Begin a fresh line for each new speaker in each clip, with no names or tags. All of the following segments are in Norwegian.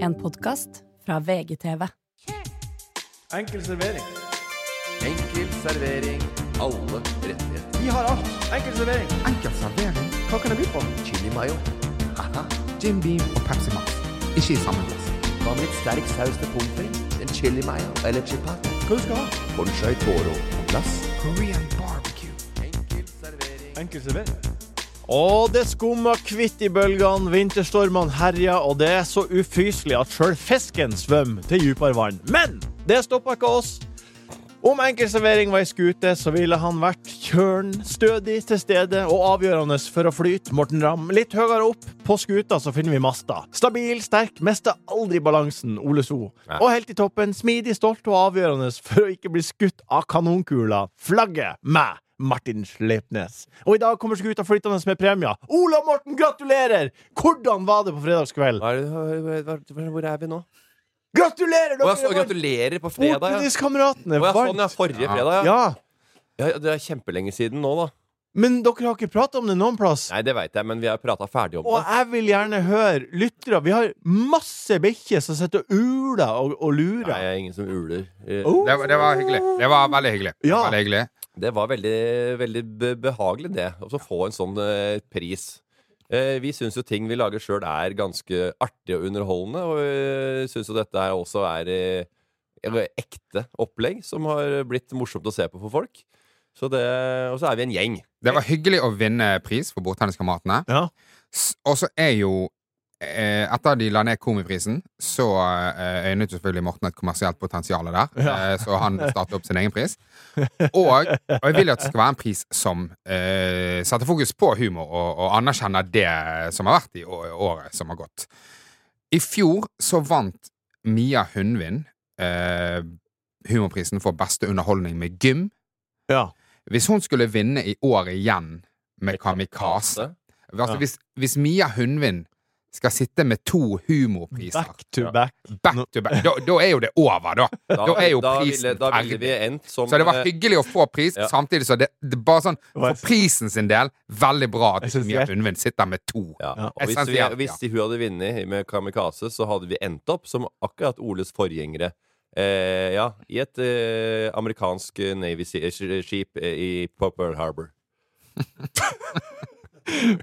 En podkast fra VGTV.
Enkel servering.
Enkel servering. Alle rettigheter.
Vi har alt. Enkel servering.
Enkel servering,
Hva kan jeg by på?
Chili mayo. Haha.
Jim Beam og Pepsi Max. Ikke i samme glass.
Hva med litt sterk saus til pommes frites? En chili mayo eller chipat?
Hva du skal ha?
Bonchai toro på glass.
Korean barbecue.
Enkel servering.
Enkel servering. Og det skumma kvitt i bølgene, vinterstormene herja, og det er så ufyselig at sjøl fisken svømmer til dypere vann. Men det stoppa ikke oss. Om enkeltservering var ei skute, så ville han vært kjølen, stødig til stede og avgjørende for å flyte Morten Ramm litt høyere opp. På skuta så finner vi masta. Stabil, sterk, mister aldri balansen, Ole So. Og helt i toppen, smidig, stolt og avgjørende for å ikke bli skutt av kanonkula. Flagget meg! Martin Sleipnes. Og i dag kommer skuta flyttende med premier. Ola Morten, gratulerer! Hvordan var det på fredagskveld?
Hvor er vi nå?
Gratulerer!
Og jeg så,
Dere vant
gratulerer på fredag, ja.
Fortidiskameratene!
Og jeg, sånn, ja,
Vant!
forrige fredag, ja.
Ja.
ja. Det er kjempelenge siden nå, da.
Men dere har ikke prata om det noen plass.
Nei, det veit jeg, men vi har prata ferdig om
Og
det.
jeg vil gjerne høre lyttere. Vi har masse bikkjer som sitter og uler og, og lurer.
Nei, jeg er ingen som uler. Eh,
Oh.
Det var, det var hyggelig. Det var veldig hyggelig. Det
Ja.
var Veldig hyggelig.
Det var veldig, veldig be- behagelig, det. å så få en sånn eh, pris. Eh, vi syns jo ting vi lager sjøl er ganske artig og underholdende, og eh, syns jo dette her også er eh, et ekte opplegg som har blitt morsomt å se på for folk. Så det, og så er vi en gjeng.
Det var hyggelig å vinne pris for Bordtenniskameratene.
Ja.
S- Og så er jo eh, Etter de la ned Komiprisen, så eh, øynet jo selvfølgelig Morten et kommersielt potensial der. Eh, så han startet opp sin egen pris. Og, og jeg vil jo at det skal være en pris som eh, setter fokus på humor, og, og anerkjenner det som har vært i å- året som har gått. I fjor så vant Mia Hundvin eh, humorprisen for beste underholdning med gym.
Ja.
Hvis hun skulle vinne i år igjen med Kamikaze altså,
Ja.
hvis, hvis Mia Hundvin skal sitte med to humorpriser
Back to back.
back, to back. Da, da er jo det over, da.
Da,
Da er jo
da, ville,
prisen
da ville vi
ferdig.
endt som
Så det var
eh,
hyggelig å få pris,
Ja.
samtidig så det, det bare sånn
Hva-
For prisen sin del, veldig bra at
Jeg synes
Mia
jeg-
Hundvin sitter med to.
ja.
Ja.
Og hvis, vi,
Essensielt,
hvis hun hadde vunnet med Kamikaze, så hadde vi endt opp som akkurat Oles forgjengere. Eh, ja, i et eh, amerikansk eh, Navy Sea- eh, skip eh, i på Pearl Harbor.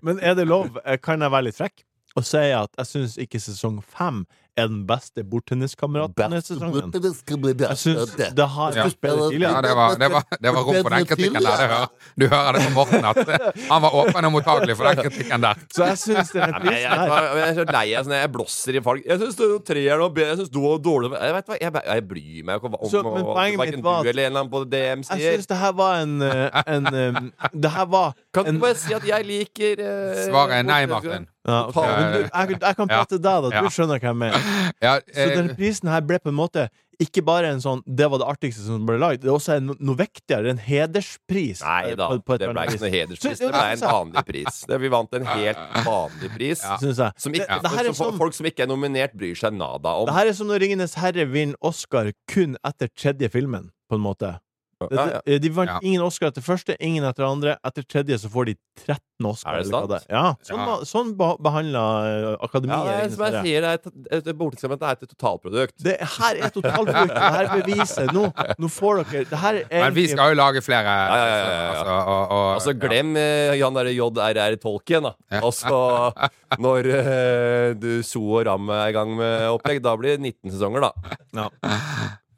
Men er det lov? eh, Kan jeg være litt frekk og si at jeg syns ikke sesong fem er den beste bordtenniskameraten-sesongen? Jeg syns det har
Ja.
vært bedre
Ja,
tidligere.
det var, det, var, det var rom for den kritikken der. Du hører, du hører det på Morten at han var åpen og mottagelig for den kritikken der.
Så jeg syns denne
Nei,
prisen
jeg, jeg,
her
jeg, er så lei av sånn Jeg blåser i folk. Jeg syns treeren var bedre. Jeg syns du var dårlig. Jeg, vet hva, jeg, bare- jeg bryr meg ikke om
Så, men poenget mitt
verken du
var at-
eller en eller annen på DM
Jeg
sier.
syns det her var en, eh, en eh, Det her var
Kan du
en
ikke bare si at jeg liker eh,
Svaret er nei,
Morten,
Martin.
ja, ok. Men du, jeg, jeg kan prate til deg, da. Du skjønner hva jeg mener.
Ja,
Så
eh,
denne prisen her ble på en måte ikke bare en sånn 'det var det artigste som ble lagd', det er også en, no- noe vektigere, en hederspris.
Nei
eh,
da,
på- på et
det
eller
ble
annet
ikke noe
Så-
hederspris.
jo,
Det ble
det
en
synes jeg.
vanlig pris. Det, vi vant en helt vanlig pris.
Ja.
Synes jeg.
Som, ikke,
Det- det her er
som
sånn-
folk som ikke er nominert, bryr seg nada om.
Det her er som når 'Ringenes herre' vinner Oscar kun etter tredje filmen, på en måte. Det,
ja, ja.
det- De vant
Ja.
ingen Oscar etter første, ingen etter andre. Etter tredje så får de 13 Oscar.
Er det
eller hva
sant?
er. Ja, sånn,
Ja.
ba- sånn be behandla akademiet.
Ja, det er,
Ringenes
som jeg
Herre.
sier, det er, et- et- et bortingskameraet er et totalprodukt.
det her er totalfrukt. Det her er beviset. Nå, nå får dere Det her er
men vi
egentlig-
skal jo lage flere.
Ja, ja, ja, ja, ja.
Altså, og, og,
Altså, glem eh, han derre J.R.R. Tolkien, da. Altså, når eh, du So og Ram er i gang med opplegg, da blir det 19 sesonger, da.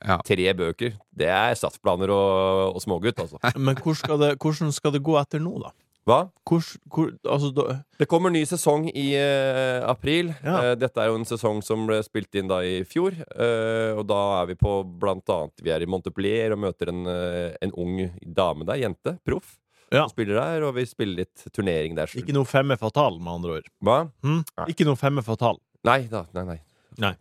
Ja.
Tre bøker. Det er statsplaner og, og smågutt, altså.
Men hvor skal det, hvordan skal det gå etter nå, da?
Hva?
Hvor, hvor, altså, da,
Det kommer ny sesong i eh, april.
Ja.
Eh, dette er jo en sesong som ble spilt inn da i fjor. eh, og da er vi på blant annet Vi er i Montepellier og møter en, eh, en ung dame der. Jente. Proff.
Ja.
Som spiller der, og vi spiller litt turnering der.
Ikke noe femme fatal, med andre ord.
Hva?
Hm? Ikke noe femme fatal.
Nei da. Nei, nei.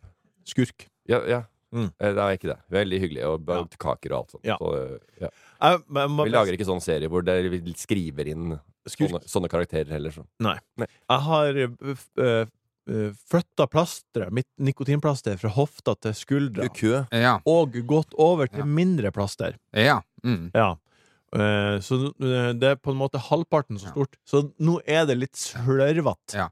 Skurk.
Ja, ja.
Mm.
Eh, det er ikke det. Veldig hyggelig. Og bare kaker og alt sånt.
Ja.
Så, eh, ja.
Jeg, men jeg, må-
Vi lager ikke sånn serie hvor det, vi skriver inn
skurk.
sånne, sånne karakterer heller. Så.
Jeg har uh, flytta plasteret, mitt nikotinplaster, fra hofta til skuldra.
kø.
ja.
Og gått over til
Ja.
mindre plaster.
ja. Mm.
Ja. Eh, så eh, det er på en måte halvparten så
Ja.
stort. Så nå er det litt slørvete.
Ja.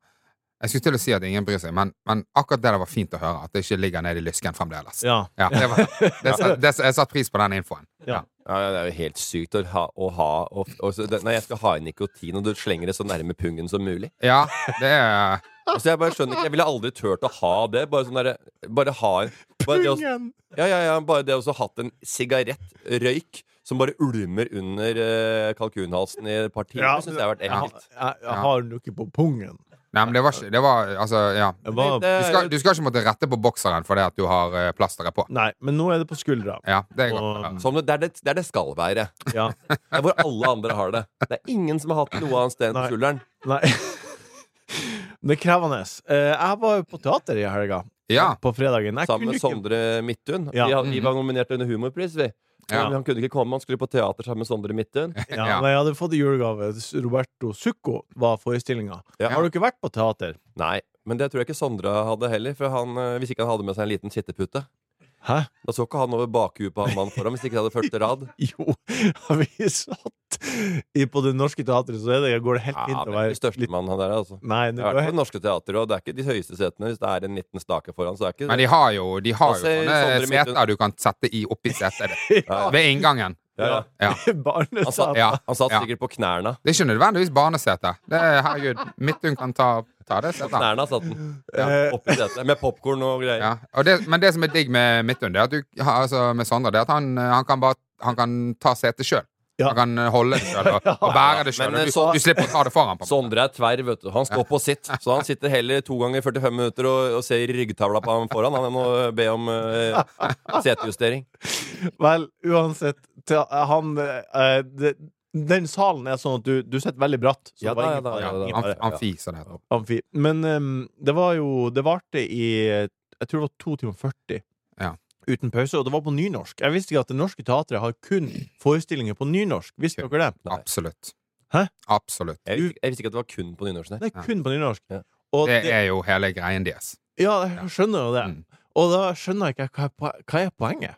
Jeg skulle til å si at ingen bryr seg, men, men akkurat det der var fint å høre. At det ikke ligger nede i lysken fremdeles.
Ja.
Ja, det var, det, sa- det, jeg satte pris på den infoen.
Ja.
Ja, ja, det er jo helt sykt å ha, å ha og, og, så, det- Nei, jeg skal ha i nikotin, og du slenger det så nærme pungen som mulig.
Ja, det er
Altså, jeg bare skjønner ikke Jeg ville aldri turt å ha det. Bare sånn derre Bare ha en bare det å-
Pungen!
Ja, ja, ja. Bare det å så hatt en sigarettrøyk som bare ulmer under eh, kalkunhalsen i et par timer, synes jeg har vært ekkelt.
Jeg, jeg, jeg har den jo ikke på pungen.
Nei, men det var ikke Det var altså, ja.
Jeg var,
Det
Du
er-
skal, du skal ikke måtte rette på bokseren fordi at du har eh, plasteret på.
nei, men nå er det på skuldra.
Ja, det er godt. Ja.
Sånn, det, er det, det er det skal være.
Ja.
Det er hvor alle andre har det. Det er ingen som har hatt noe annet sted enn
Nei.
på skulderen.
Nei. Det er krevende. Eh, Jeg var jo på teater i helga.
Ja.
På fredagen. Jeg
Sammen
kunne
med
ikke
Sondre Midtun.
Ja.
Vi, har- vi var nominert under Humorpris, vi.
Ja.
Men Han kunne ikke komme, han skulle på teater sammen med Sondre Midtun.
ja,
Ja.
men Jeg hadde fått i julegave. Roberto Succo var forestillinga.
Ja.
Har du ikke vært på teater?
Nei, men det tror jeg ikke Sondre hadde heller, for han, eh, hvis ikke han hadde med seg en liten kittepute.
Hæ?
Da så ikke han over bakhuet på han mannen foran hvis ikke det hadde første rad.
Jo, vi satt i, på Det Norske Teatret, så er det, går det helt
Ja,
fint
men
å
den
være
største mannen han der, altså.
Nei, det
Jeg har
går
vært på
helt
Det Norske Teatret, og det er ikke de høyeste setene. Hvis det er en liten stake foran, så er det ikke
Men de har jo, de har jo
Altså, Sondre
sånne
Midtun-
seter du kan sette i oppi setet ditt.
Ja,
Ved inngangen.
ja, ja.
Ja.
Altså,
barnesatt.
Ja.
Han satt
Ja.
sikkert på knærne.
Det er ikke nødvendigvis barnesete. Det er, herregud, Midtun kan ta, ta det setet.
Knærne satt den.
Eh,
Oppi setet. Med popkorn og greier.
Ja. Og det, men det som er digg med Midtun, det er at du, ja, altså med Sondre, det er at han, han kan bare han kan ta setet sjøl.
Ja.
Han kan eh, holde det sjøl og, og bære det sjøl.
Men,
Du,
så-
du slipper å ta det foran. på en måte.
Sondre er tverr, vet du. Han står på sitt. Så han sitter heller to ganger 45 minutter og, og ser i ryggtavla på ham foran. Han må be om eh, setejustering.
Vel, uansett til, han, eh, det, Den salen er sånn at du, du sitter veldig bratt. Så
Ja
det var
da,
ingen
ja da,
fare.
ja da.
Ingen
Amf-
fare.
Amfi, som det heter.
Amfi. Men ehm, det var jo Det varte i eh, Jeg tror det var 2 timer og 40
Ja.
uten pause, og det var på nynorsk. Jeg visste ikke at Det Norske Teatret har kun forestillinger på nynorsk. Visste
Kun.
dere det?
Nei.
Absolutt.
Hæ?
Absolutt.
Jeg visste, jeg visste ikke at det var kun på nynorsk.
Det
Nei.
er kun på nynorsk.
Ja.
Og
Det
det,
er jo hele greien deres.
ja, jeg skjønner jo det.
Mm.
Og da skjønner jeg ikke hva er, poe- hva er poenget.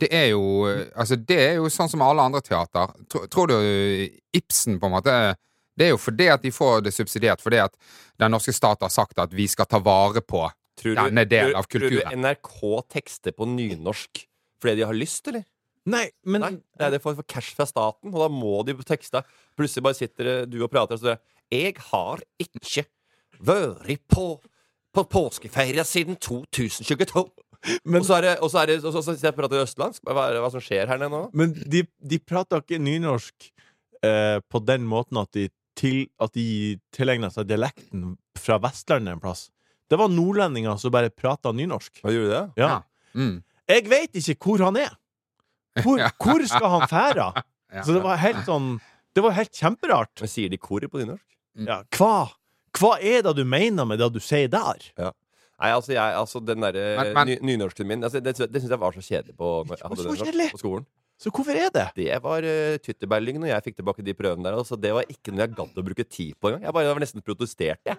Det er jo Altså, det er jo sånn som alle andre teater. Tro- Tror du Ibsen, på en måte Det er jo fordi at de får det subsidiert, fordi at den norske stat har sagt at vi skal ta vare på
Tror du-
Denne delen av
tror- Tror
kulturen.
du NRK tekster på nynorsk fordi de har lyst, eller?
Nei, men
Nei, det er det for, for cash fra staten, og da må de tekste. Plutselig bare sitter det du og prater, og så sier jeg, Jeg har ikke vært på på påskeferie siden 2022.
Men-
og så er det, og så er det og så, så, sitter jeg og prater østlandsk. Hva er det hva som skjer her nede nå?
Men de, de prater ikke nynorsk eh, på den måten at de, til, at de tilegner seg dialekten fra Vestlandet en plass. Det var nordlendinger som bare prata nynorsk.
Hva gjorde du det?
Ja.
mm,
Jeg veit ikke hvor han er! Hvor, hvor skal han fære?
ja.
Så det var helt sånn Det var helt kjemperart.
Men Sier de kor på nynorsk?
Mm.
Ja, hva, hva er det du mener med det du sier der?
Nei, altså, jeg, altså den derre
Men- men-
ny- nynorsken min altså, Det, det syns jeg var så kjedelig på, når jeg
Det var
hadde
så
den på-
kjedelig.
på skolen.
Så hvorfor er det?
Det var uh, tyttebærlyng når jeg fikk tilbake de prøvene der. Altså, det var ikke noe jeg gadd å bruke tid på engang. Jeg bare jeg var nesten protesterte, jeg.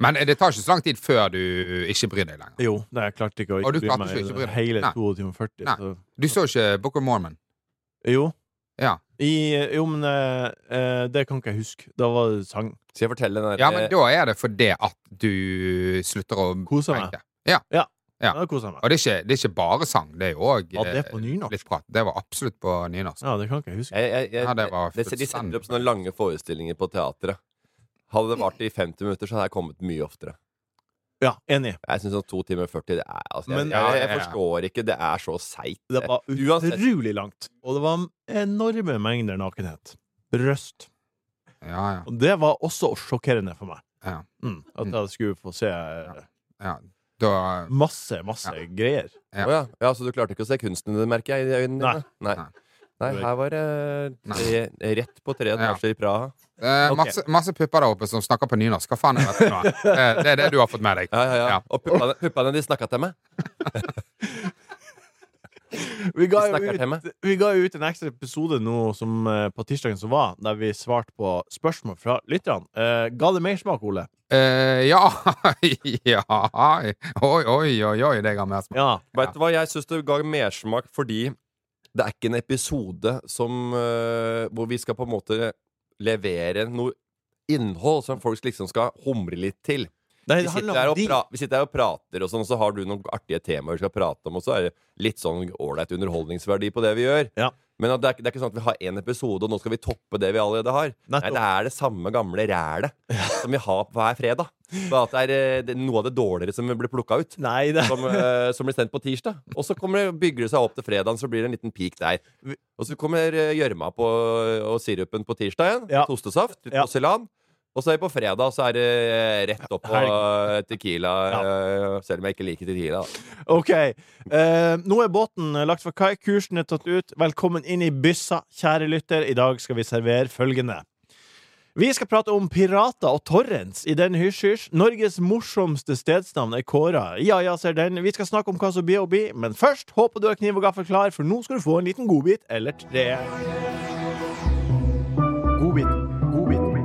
Men det tar ikke så lang tid før du ikke bryr deg lenger.
Jo, nei, jeg klarte ikke å
Og du
ikke bry
klarte
meg
ikke å ikke bry deg.
hele
Nei.
2 timer 40.
Nei.
Så.
Du så ikke Book of Mormon?
Jo.
Ja.
I, jo, men eh, eh, det kan ikke jeg huske. Da var det sang.
Skal jeg fortelle den der, eh,
Ja, men
Eh,
da er det fordi at du slutter å
Koser meg.
tenke.
Ja.
Ja.
Da koser jeg meg.
Og det er, ikke, det er ikke bare sang, det er jo òg
Ja, det er på nynorsk.
litt prat. Det var absolutt på nynorsk.
Ja, det kan ikke jeg huske.
Jeg, jeg, jeg,
Ja, det var
det- de
fullstendig.
setter opp sånne lange forestillinger på teatret. Hadde det vart i 50 minutter, så hadde jeg kommet mye oftere.
Ja, enig.
Jeg syns sånn 2 timer og 40 det er, altså, jeg,
Men-
jeg, jeg,
Ja, ja, ja.
forstår ikke. Det er så seigt.
Det var
Uansett.
utrolig langt. Og det var enorme mengder nakenhet. Røst.
Ja, ja,
Og det var også sjokkerende for meg.
Ja.
Mm, at jeg skulle få se eh,
ja. Da eh,
masse, masse
Ja.
greier.
Ja.
Å ja. ja, Så du klarte ikke å se kunsten i det, merker jeg, i øynene dine? Nei.
Nei.
Nei, her var det eh, rett på tre
Ja.
etasjer i Praha.
eh,
Ok.
masse, masse pupper der oppe som snakker på nynorsk. Hva faen er dette nå? Eh, det er det du har fått med deg.
Ja, ja, ja.
Ja.
Og puppene, puppene de snakka til meg.
Vi ga,
Vi snakker
jo
til meg.
ut, vi ga jo ut en ekstra episode nå som, eh, på tirsdagen som var, der vi svarte på spørsmål fra lytterne. Eh, ga det mersmak, Ole?
Eh, ja. ja Oi, oi, oi, oi, det ga mersmak.
Ja.
Vet du hva, jeg syns det ga mersmak fordi det er ikke en episode som eh, Hvor vi skal på en måte levere noe innhold som folk liksom skal humre litt til.
Nei,
Vi
det
sitter,
handler
her
om
og
de.
pra vi sitter her og prater, og sånn, så har du noen artige temaer du skal prate om, og så er det litt sånn ålreit underholdningsverdi på det vi gjør.
Ja.
Men at det er, ikke- det er ikke sånn at vi har én episode, og nå skal vi toppe det vi allerede har. Nei,
Nettopp.
det er det samme gamle rælet som vi har hver fredag. Bare at det er eh, det er noe av det dårligere som blir plukka ut.
Nei, det
Som, eh, som blir sendt på tirsdag. Og så kommer det, bygger det seg opp til fredagen, så blir det en liten peak der. Og så kommer eh, gjørma på- og sirupen på tirsdag igjen.
Ja.
Tostesaft, litt
Ja.
poselan. Og så er det på fredag så er det eh, rett opp på eh, tequila. eh, Selv om jeg ikke liker tequila. da.
OK. Eh, nå er båten lagt for kai, kursen er tatt ut. Velkommen inn i byssa, kjære lytter. I dag skal vi servere følgende. Vi skal prate om pirater og torrents i den hysj-hysj. Norges morsomste stedsnavn er kåra. Ja, ja, ser den. Vi skal snakke om hva som blir å bli, men først håper du har kniv og gaffel klar, for nå skal du få en liten godbit eller tre. Godbit. Godbit. Godbiten.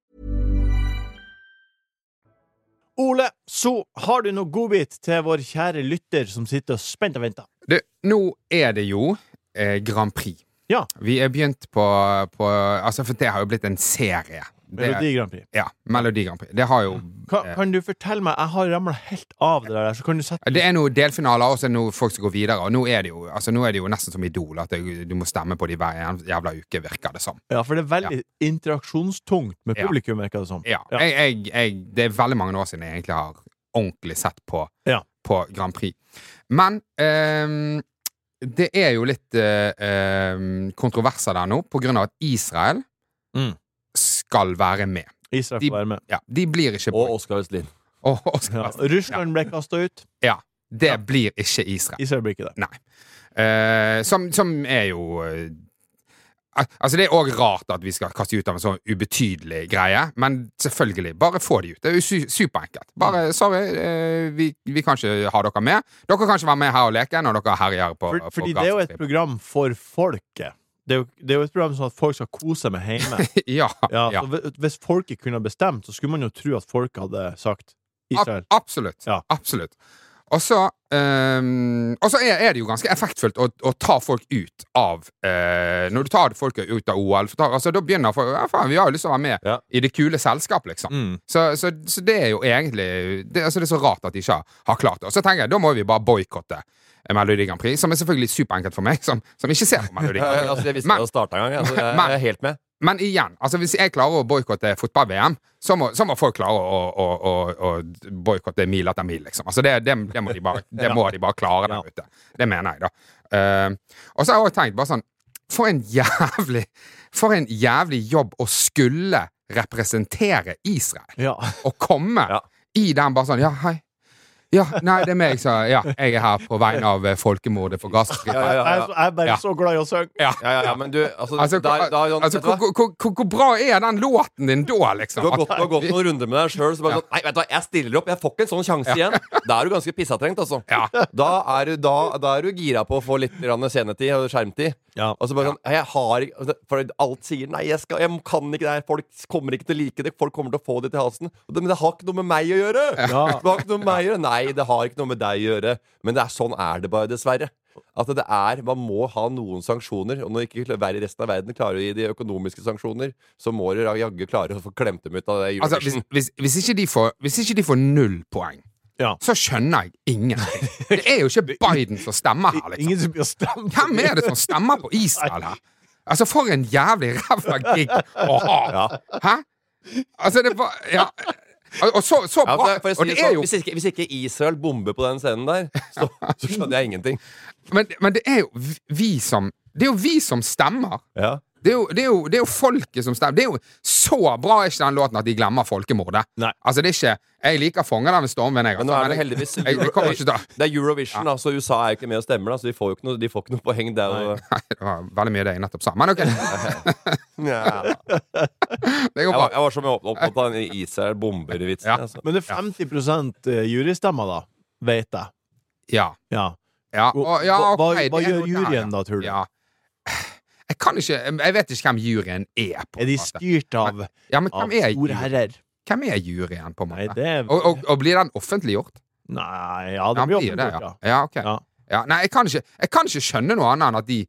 Ole, så har du noe godbit til vår kjære lytter som sitter og spent og venter.
Du, nå er det jo eh, Grand Prix.
Ja.
Vi er begynt på, på Altså, for det har jo blitt en serie. Det,
Melodi Grand Prix.
ja, Melodi Grand Prix. Det har jo
Kan, kan du fortelle meg Jeg har ramla helt av det der, så kan du sette
Det er noen delfinaler, og så er det noen folk som går videre. Og nå er det jo, altså, nå er det jo nesten som Idol, at det, du må stemme på de hver jæv- jævla uke, virker det som.
Ja, for det er veldig interaksjonstungt med
Ja.
publikum, virker det som.
Ja.
Ja.
Jeg, jeg, jeg, det er veldig mange år siden jeg egentlig har ordentlig sett på,
Ja.
på Grand Prix. Men ehm, det er jo litt eh, ehm, kontroverser der nå, på grunn av at Israel
Mm.
skal være med.
Israel
De-
får være med.
Ja, de blir ikke
Og
boikott.
Oskar Østlin.
Og- og skal
Ja.
være-
Russland ble kasta ut.
ja, det blir ikke Israel.
Israel blir ikke det.
Nei. Eh, som, som er jo eh, al- Altså Det er òg rart at vi skal kaste ut av en sånn ubetydelig greie, men selvfølgelig, bare få de ut. Det er jo su superenkelt. Bare
Mm.
sorry, eh, vi, vi kan ikke ha dere med. Dere kan ikke være med her og leke når dere herjer på,
For,
på
fordi det er jo et
Gazastripen.
program for folket. Det er jo, det er jo et program sånn at folk skal kose seg med hjemme.
ja,
Ja,
ja.
så hv- Hvis folket kunne ha bestemt, så skulle man jo tro at folket hadde sagt Israel.
Ab absolutt.
Ja.
Absolutt. Og så ehm, og så er, er det jo ganske effektfullt å, å ta folk ut av eh, Når du tar folk ut av OL, så tar, altså, da begynner folk ja, faen, Vi har jo lyst til å være med
Ja.
i det kule selskap, liksom.
Mm.
Så, så, så det er jo egentlig det, altså, det er så rart at de ikke har, har klart det. Og så tenker jeg, da må vi bare boikotte Melodi Grand Prix, som er selvfølgelig superenkelt for meg, som, som ikke ser på Melodi Grand Prix.
Altså, jeg visste
Men-
det å starte en gang. Altså, jeg,
Men-
jeg er helt med.
Men igjen, altså hvis jeg klarer å boikotte fotball-VM, så, må- så må folk klare å, å, å, å, å boikotte mil etter mil, liksom. Altså det, det, det, må de bare, det må de bare klare der ute. Det mener jeg, da. Eh, og så har jeg også tenkt bare sånn For en jævlig For en jævlig jobb å skulle representere Israel.
Ja.
Å komme
Ja.
i den bare sånn Ja, hei. Ja, nei, det er meg, så ja, jeg er her på vegne av eh, folkemordet for
Ja,
Gazastripen.
ja,
Jeg
ja.
er så- jeg er bare
Ja.
så glad i å synge.
Ja.
Ja, ja, ja, men du, altså, der,
Altså,
der,
altså
vet du hva?
hvor, hvor, hvor, hvor bra er den låten din da, liksom?
Du har
At-
gått, du har gått noen runder med deg sjøl. Så bare sånn, nei, vet du hva, jeg stiller opp. Jeg får ikke en sånn sjanse igjen. Da er du ganske pissatrengt, altså.
Ja.
Da, er du, da, da er du gira på å få litt grann scenetid og skjermtid.
Ja.
Og så bare sånn, «Nei, jeg har ikke altså, For alt sier nei, jeg, skal, jeg kan ikke det her. Folk kommer ikke til å like det. Folk kommer til å få det til halsen. Og det, men det har ikke noe med meg å gjøre!
Ja.
Det har ikke noe med meg å gjøre Nei, det har ikke noe med deg å gjøre. Men det er, sånn er det bare, dessverre. At det er, Man må ha noen sanksjoner. Og når ikke ver- resten av verden klarer å gi de økonomiske sanksjoner, så må du jaggu klare å få klemt dem ut av det.
Altså,
Eurovision.
hvis, hvis, hvis, ikke de får, hvis ikke de får null poeng,
Ja.
så skjønner jeg ingenting. Det er jo ikke Biden som stemmer her, liksom.
Ingen som blir stemt.
Hvem er det som stemmer på Israel her? Altså, for en jævlig ræva gig å ha! Hæ? Altså, det var Ja. Og og så, så
Ja,
bra.
for, for å si
og
det
det er
sånn,
jo
hvis, ikke, hvis ikke Israel bomber på den scenen der, så, så skjønner jeg ingenting.
men, men det er jo vi- vi som Det er jo vi som stemmer.
Ja.
Det er, jo, det, er jo, det er jo folket som stemmer. Det er jo så bra er ikke den låten at de glemmer folkemordet.
Nei.
Altså, det er ikke Jeg liker 'Fangen av en stormvind', jeg.
Men nå
altså,
er det
jeg-
heldigvis
jeg, jeg kommer ikke til å-
Det er Eurovision, da, så USA er jo ikke med og stemmer, da, så de får jo ikke noe, de får ikke noe poeng der. Og,
Nei, det var veldig mye det jeg nettopp sa. Men ok,
ja, da.
det går
jeg, var,
bra.
jeg var så mye opp- opptatt av den Israel-bomber-vitsen.
Ja.
Altså.
Men det er 50 jurystemmer, da. Vet jeg.
Ja.
Ja.
ja, og, ja
Hva-
ok,
hva-
det
hva
er
gjør
noe der,
juryen
ja.
da, tror du?
Ja. Jeg kan ikke Jeg vet ikke hvem juryen er, på
Er
en
de
måte.
styrt av,
Ja, men
av
hvem er,
store
juryen?
herrer?
hvem er juryen, på en
Nei,
måte?
det er
Og, og, og blir den offentliggjort?
Nei, ja, det
Den
blir
blir det,
offentliggjort,
ja.
ja.
ja, ok.
Ja.
ja nei, jeg kan, ikke, jeg kan ikke skjønne noe annet enn at de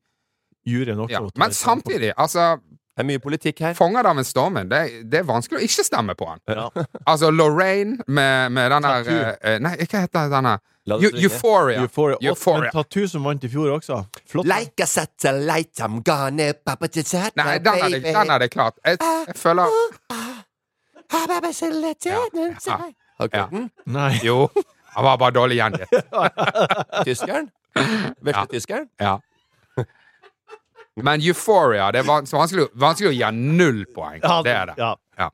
Juryen også.
ja.
måtte
Men
være sammen.
samtidig, altså
Det er mye politikk her.
'Fanget av en stormvind', det, det er vanskelig å ikke stemme på han.
Ja.
Altså Lorraine med, med den der
Tattoo.
eh, Nei, hva heter den der?
La det svinge.
Euphoria.
Euphoria. Og-
Euphoria.
Men Tattoo som vant i fjor også. Flott.
a satellite, I'm gonna pop it
Nei, den hadde, den hadde jeg klart. Jeg,
Ah,
jeg føler ja. Ja.
Nei.
Jo. Han var bare dårlig gjengitt.
Tyskeren? Vesle tyskeren?
Ja. Men Euphoria Det er vans- vanskelig, vanskelig å gi null poeng.
Ja,
Det er det.
Ja.
Ja.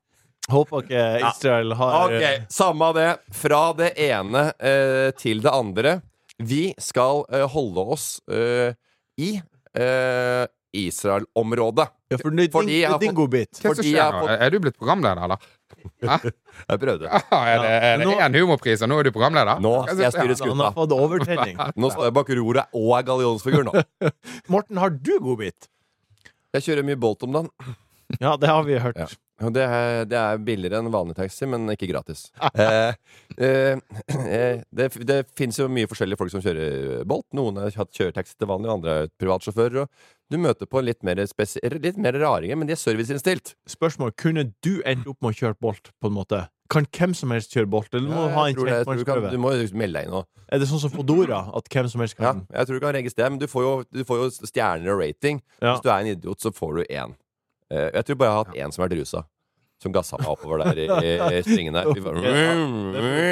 Håper ikke Israel har
Ok, samme av det. Fra det ene eh, til det andre. Vi skal eh, holde oss eh, i eh, Israel-området.
Ja, for det er
Fordi jeg har
din-
fått-
dingobit.
Hva er det som
Fordi jeg har
skjer nå?
fått-
Er du blitt programleder, eller?
Jeg prøvde.
Ja, er det- er det
Nå-
én humorpris, og nå er du programleder?
Nå
Hva er
skal
det
jeg
som skjer?
styre
Han har
skuta.
fått overtenning.
Nå står jeg bak roret og er gallionsfigur nå.
Morten, har du godbit?
Jeg kjører mye Bolt om dagen.
Ja, det har vi hørt.
Ja. Og Det er, det er billigere enn vanlig taxi, men ikke gratis. Eh, eh, eh, det det fins jo mye forskjellige folk som kjører Bolt. Noen har hatt kjøretaxi til vanlig, andre er privatsjåfører. Og du møter på litt mer, spesi- litt mer raringer, men de er serviceinnstilt.
Spørsmål. Kunne du endt opp med å kjøre Bolt, på en måte? Kan hvem som helst kjøre Bolt? Eller du må
Ja,
ha en
jeg tror det- jeg tror du, kan, du
kjentmannsprøve?
må jo liksom melde deg inn nå.
Er det sånn som Fodora? At hvem som helst
Ja,
kan
jeg tror du kan registrere, men du får jo, du får jo stjerner og rating.
Ja.
Hvis du er en idiot, så får du én. Eh, Jeg tror bare jeg har hatt én som har vært rusa. Som gassa meg oppover der i, i svingen der. Vi bare,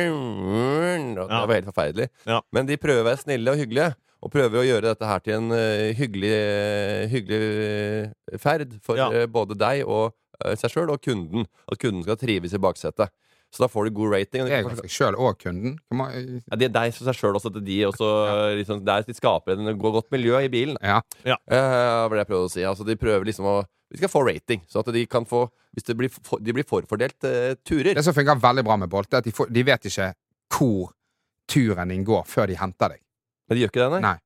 og det var helt forferdelig.
Ja.
Men de prøver å være snille og hyggelige, og prøver å gjøre dette her til en eh, hyggelig, eh, hyggelig eh, ferd for
Ja.
eh, både deg og eh, seg sjøl og kunden. At kunden skal trives i baksetet. Så da får du god rating. og
Jeg er ganske sjøl og kunden. eh, Hva må-
ja, det er deg for seg sjøl også. At de også liksom, det er at de skaper en går godt miljø i bilen.
Ja.
Eh, var det jeg prøvde å si. Altså, de prøver liksom å Vi skal få rating, sånn at de kan få Hvis det blir for, de blir forfordelt eh, turer.
Det som fungerer veldig bra med Bolt, er at de, får, de vet ikke hvor turen din går før de henter deg.
Men de gjør ikke det, nei.
Nei.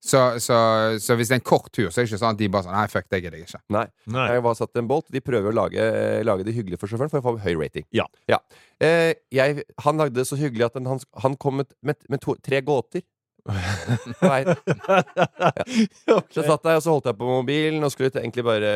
Så, så, så hvis det er en kort tur, så er det ikke sånn at de bare sånn Nei, fuck, det gidder jeg ikke.
Nei.
Nei.
Jeg var satt i en bolt. De prøver å lage, lage det hyggelig for sjåføren for å få høy rating.
Ja.
Eh, jeg, han lagde det så hyggelig at han, han kom med, med, med to, tre gåter. På veien. Så jeg
Ok.
satt der, og så holdt jeg på mobilen og skulle egentlig bare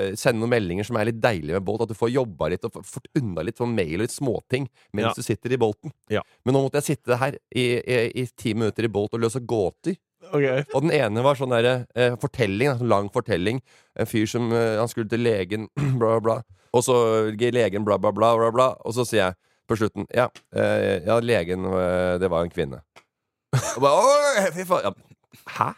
eh, sende noen meldinger som er litt deilige med Bolt. At du får jobba litt og få- fått unna litt sånn mail og litt småting
Ja.
mens du sitter i Bolten.
Ja.
Men nå måtte jeg sitte her i, i, i ti minutter i Bolt og løse gåter.
Ok.
Og den ene var sånn derre eh, fortelling, en sånn lang fortelling. En fyr som eh, Han skulle til legen, bla, bla, bla. Og så gir legen bla, bla, bla, bla, bla. Og så sier jeg på slutten Ja, eh, ja legen, eh, det var en kvinne. Og bare Oi, fy faen. Ja, hæ?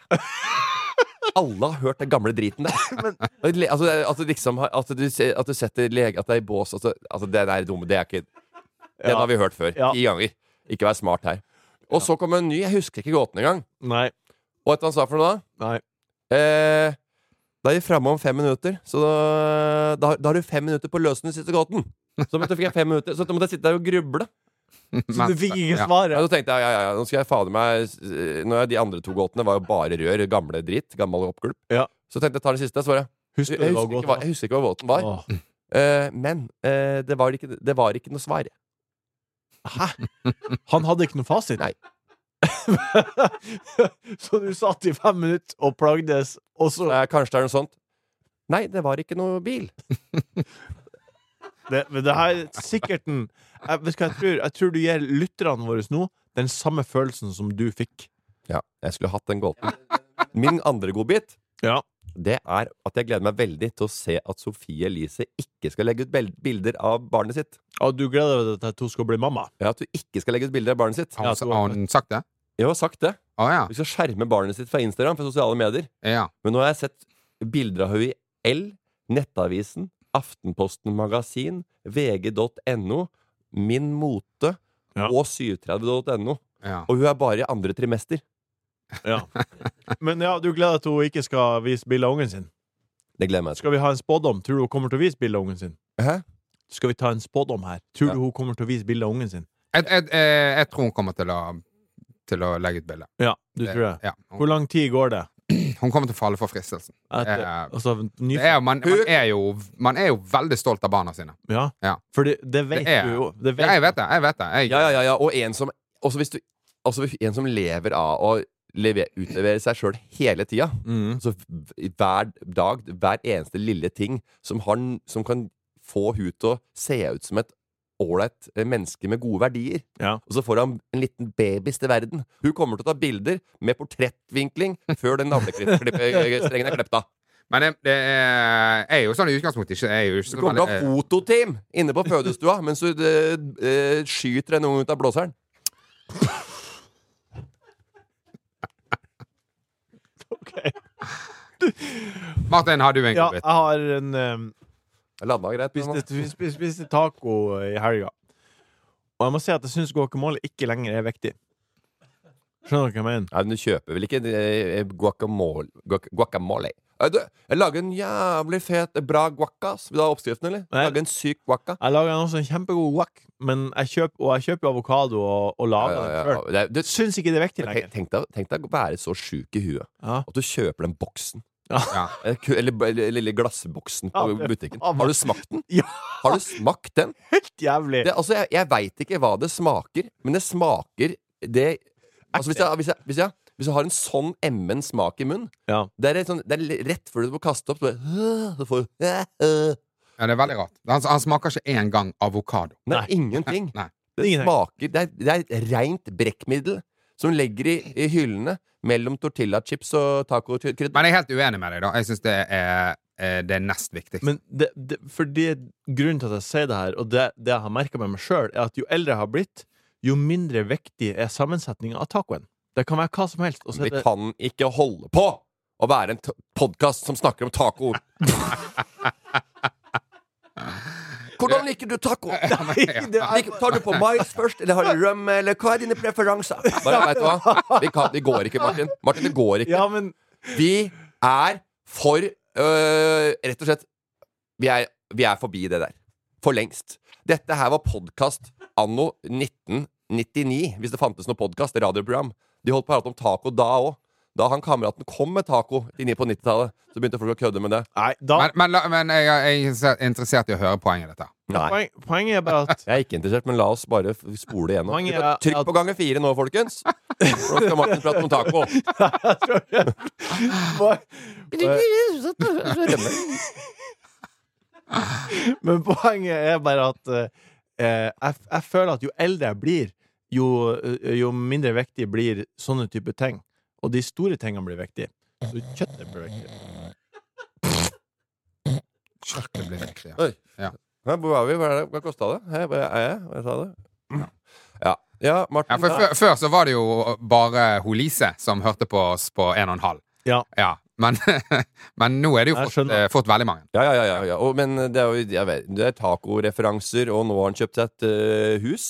Alle har hørt den gamle driten der. Og le- altså, det- altså, liksom, har- at, du, se- at du setter lege At det er i bås altså, altså, Det der dumme, det er ikke Den
Ja.
har vi hørt før.
Ja.
Ti ganger. Ikke vær smart her. Og så kom en ny. Jeg husker ikke gåten engang.
Nei.
Og vet du hva han sa for noe da?
Nei.
Eh, da er vi framme om fem minutter, så da, da, da har du fem minutter på å løse den siste gåten. Så måtte, fikk jeg fem minutter, så da måtte jeg sitte der og gruble.
Så du fikk ikke svaret?
Ja, så tenkte jeg ja, ja, ja, nå skal jeg fader meg eh, nå er De andre to gåtene var jo bare rør, gamle dritt. Gammel oppgulp.
Ja.
Så tenkte jeg ta den siste. Så var jeg,
Husker
jeg,
du hva
husker ikke, hva,
gåten
jeg husker ikke hva båten var.
var?
Eh, men eh, det, var ikke, det var ikke noe svar.
Han hadde ikke noe fasit?
Nei.
så du satt i fem minutter og plagdes, og så
Eh, kanskje det er noe sånt. Nei, det var ikke noe bil.
det, Men det her er sikkert en jeg, vet du hva jeg, tror, jeg tror du gir lytterne våre nå den samme følelsen som du fikk.
Ja, jeg skulle hatt den gåten. Min andre godbit
Ja.
det er at jeg gleder meg veldig til å se at Sofie Elise ikke skal legge ut bel- bilder av barnet sitt.
Og du gleder deg til at hun skal bli mamma?
Ja, At hun ikke skal legge ut bilder av barnet sitt.
Har
Ja,
hun,
jeg tror-
har hun sagt det?
Jeg har sagt det.
Å ja.
Hun skal skjerme barnet sitt fra Instagram, fra sosiale medier.
ja.
Men nå har jeg sett bilder av henne i L, Nettavisen, Aftenposten Magasin, vg.no, Min Mote
Ja.
og 37.no.
ja.
Og hun er bare i andre trimester.
Ja. Men ja, du gleder deg til hun ikke skal vise bilde av ungen sin?
Det gleder jeg meg til.
Skal vi ha en spådom? Tror du hun kommer til å vise bilde av ungen sin?
Hæ?
Skal vi ta en spådom her? Tror
Ja.
du hun kommer til å vise bilde av ungen sin?
Jeg, jeg, jeg, jeg tror hun kommer til å, til å legge ut bilde.
Ja, du tror det?
Ja. Hun,
Hvor lang tid går det?
hun kommer til å falle for fristelsen.
Etter,
Ja.
altså, ny,
Det er, man, man, er jo, man er jo veldig stolt av barna sine.
ja.
Ja.
For det, det vet
Det er-
du jo. Det vet,
Ja, jeg vet det. jeg vet det jeg,
Ja, ja, ja, ja. Og en som, også hvis du, også hvis- en som lever av å leve, utlevere seg sjøl hele tida.
Mm.
Altså v- hver dag, hver eneste lille ting som, har, n- som kan få hun til å se ut som et ålreit eh, menneske med gode verdier.
Ja.
Og så får han en liten babys til verden. Hun kommer til å ta bilder med portrettvinkling før den navlestrengen er klept av.
Men det, det er, jeg er jo sånn i utgangspunktet ikke, jeg er jo
Du
ikke så
kommer til å
veldig-
ha fototeam inne på fødestua mens du eh, eh, skyter en unge ut av blåseren.
Eh, Martin, har du en
ja,
godbit?
jeg har en um,
Jeg landa greit. men nå-
spiste, spiste, spiste taco i helga. Og jeg må si at jeg syns guacamole ikke lenger er viktig. Skjønner dere hva jeg mener?
Nei, men du kjøper vel ikke eh, guacamole, guac- guacamole. Eh, Du, jeg lager en jævlig fet, bra guacca. ass. Vil du ha oppskriften, eller?
Nei.
Lage en syk guacca.
Jeg lager en også en kjempegod guac, men jeg kjøper, og jeg kjøper jo avokado og, og
Ja,
lager
ja,
den
ja,
sjøl.
ja. Det-
Syns ikke det er viktig
du-
lenger.
Tenk tenk deg tenk deg å være så sjuk i huet
Ja.
at du kjøper den boksen.
Ja.
Eh, ku- Eller eller- eller lille glassboksen på
Ja, det-
butikken.
ja, men-
Har du smakt den?
Ja.
Har du smakt den?
Helt jævlig.
Det, altså, jeg, jeg veit ikke hva det smaker, men det smaker det Altså, hvis jeg, hvis jeg, hvis jeg, hvis jeg har en sånn emmen smak i munnen
Ja.
Det er, et sånn, det er li- rett før du må kaste opp. Så bare, øh, så får du øh, øh.
Ja, det er veldig rart. Han, han smaker ikke engang avokado.
Det er ingenting.
Nei.
Det
Ingenting.
smaker Det er, det er reint brekkmiddel som ligger i, i hyllene mellom tortillachips og tacokrydder.
Men jeg er helt uenig med deg, da. Jeg syns det er eh, det er nest viktigste.
Men det, det, for det, grunnen til at jeg sier det her, og det, det jeg har merka med meg sjøl, er at jo eldre jeg har blitt, jo mindre viktig er sammensetninga av tacoen. Det kan være hva som helst. Og så
Vi
er det,
kan ikke holde på å være en podkast som snakker om taco. Hvordan liker du taco?
det er,
Lik- Tar du på mais først, eller har du rømme, eller hva er dine preferanser? Bare vet du hva? Vi, kan, vi går ikke, Martin. Martin, det går ikke.
ja, men
Vi er for øh, Rett og slett vi er, vi er forbi det der. For lengst. Dette her var podkast anno 1999, hvis det fantes noe podkast. Radioprogram. De holdt på å prate om taco da òg. Da han kameraten kom med taco i ni- på 90-tallet, så begynte folk å kødde med det.
Nei, da
Men, men, la- men jeg, jeg er interessert i å høre poenget i dette.
Nei.
poen, Poenget er bare at
Jeg er ikke interessert, men la oss bare f- spole igjennom.
Poenget
Vi kan
er
Trykk
at-
på ganger fire nå, folkens. Nå skal Martin prate om taco.
Men poenget er bare at eh, jeg, jeg føler at jo eldre jeg blir, jo, eh, jo mindre viktig blir sånne type ting. Og de store tingene blir viktige. Så kjøttet blir viktig.
Kjøttet blir viktig. Ja.
Oi.
Ja.
Hæ, Hvor er vi? Hva, er det? Hva kosta det? Hæ, Hva er jeg? Hva sa det? Ja. ja, Martin.
Ja, for
da-
før, før så var det jo bare Holise som hørte på oss på en og en halv.
Ja.
Ja, men, men nå er det jo
Jeg
fått,
skjønner.
eh, fått veldig mange.
Ja, ja, ja, ja, ja. Og, men det er jo jeg vet, det er tacoreferanser, og nå har han kjøpt seg et eh, hus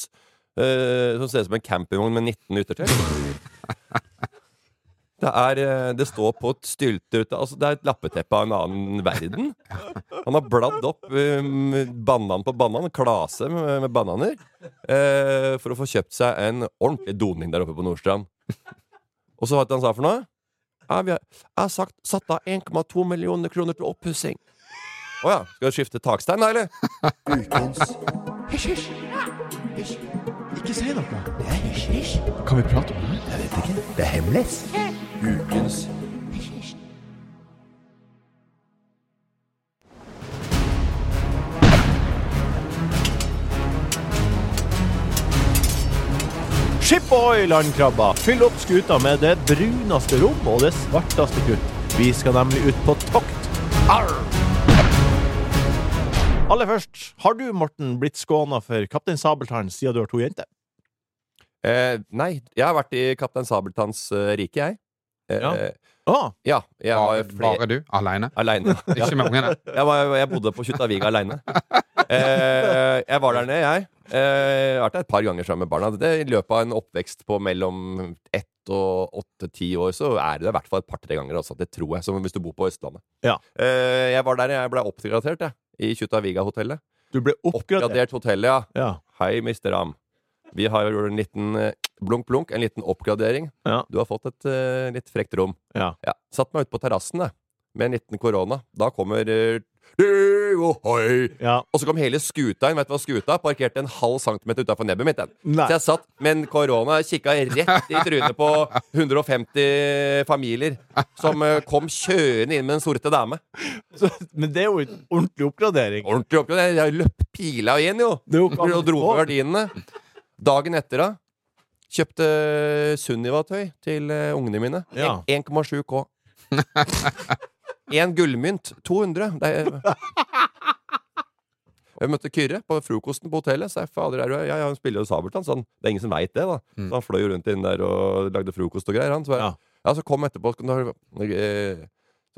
eh, som ser ut som en campingvogn med 19 utertøy. Det, er, eh, det står på et stylte ute altså, Det er et lappeteppe av en annen verden. Han har bladd opp eh, banan på banan, klase med, med bananer, eh, for å få kjøpt seg en ordentlig doning der oppe på Nordstrand. Og så hva var det han sa for noe? Ja, vi har, jeg har sagt, satt av 1,2 millioner kroner til oppussing. Å ja. Skal du skifte takstein, da, eller?
Ikke si noe! Ship Oil, landkrabba! Fyll opp skuta med det bruneste rom og det svarteste kutt. Vi skal nemlig ut på tokt. Arr! Aller først, har du, Morten, blitt skåna for Kaptein Sabeltann siden du har to jenter?
Eh, nei, jeg har vært i Kaptein Sabeltanns eh, rike, jeg. Eh,
Ja.
eh,
Ah,
ja jeg
Bare,
var flere
bare du? Aleine?
Aleine. Ja.
Ikke med ungene?
Jeg, var, jeg bodde på Kjuttaviga aleine. Eh, jeg var der nede, jeg. Eh, jeg har vært der et par ganger sammen med barna. Det, I løpet av en oppvekst på mellom ett og åtte-ti år, så er det i hvert fall et par-tre ganger også. Det tror jeg. Som hvis du bor på Østlandet.
Ja.
Eh, jeg var der jeg ble oppgradert, jeg. I Kjuttaviga-hotellet.
du ble oppgradert.
Oppgradert hotell, ja.
Ja.
Hei, Mr. Ram. Vi har jo en liten eh, blunk, blunk, en liten oppgradering.
Ja.
Du har fått et eh, litt frekt rom.
Ja.
Satt meg ute på terrassen jeg, med en liten korona. Da kommer eh, «Hei, oh, hei!»
ja.
Og så kom hele skuta inn. Vet du hva skuta er? Parkerte en halv centimeter utafor nebbet mitt. Den.
Nei.
Så jeg satt med en korona og kikka rett i trynet på 150 familier som eh, kom kjørende inn med den sorte dame.
Så, men det er jo en ordentlig oppgradering.
Ordentlig oppgradering. Jeg løp pila inn, jo!
Det er jo
Og dro på gardinene. Dagen etter, da. Kjøpte Sunniva-tøy til eh, ungene mine.
Ja.
1,7 K. Én gullmynt. 200. Det er... Jeg møtte Kyrre på frokosten på hotellet. Så jeg, fader, er du, her?» ja, ja, han spiller jo Sabeltann, så han, det er ingen som veit det. da
Mm.
Så Han fløy jo rundt inn der og lagde frokost og greier. Han, så, jeg,
Ja.
ja. så kom etterpå så kunne du ha- eh,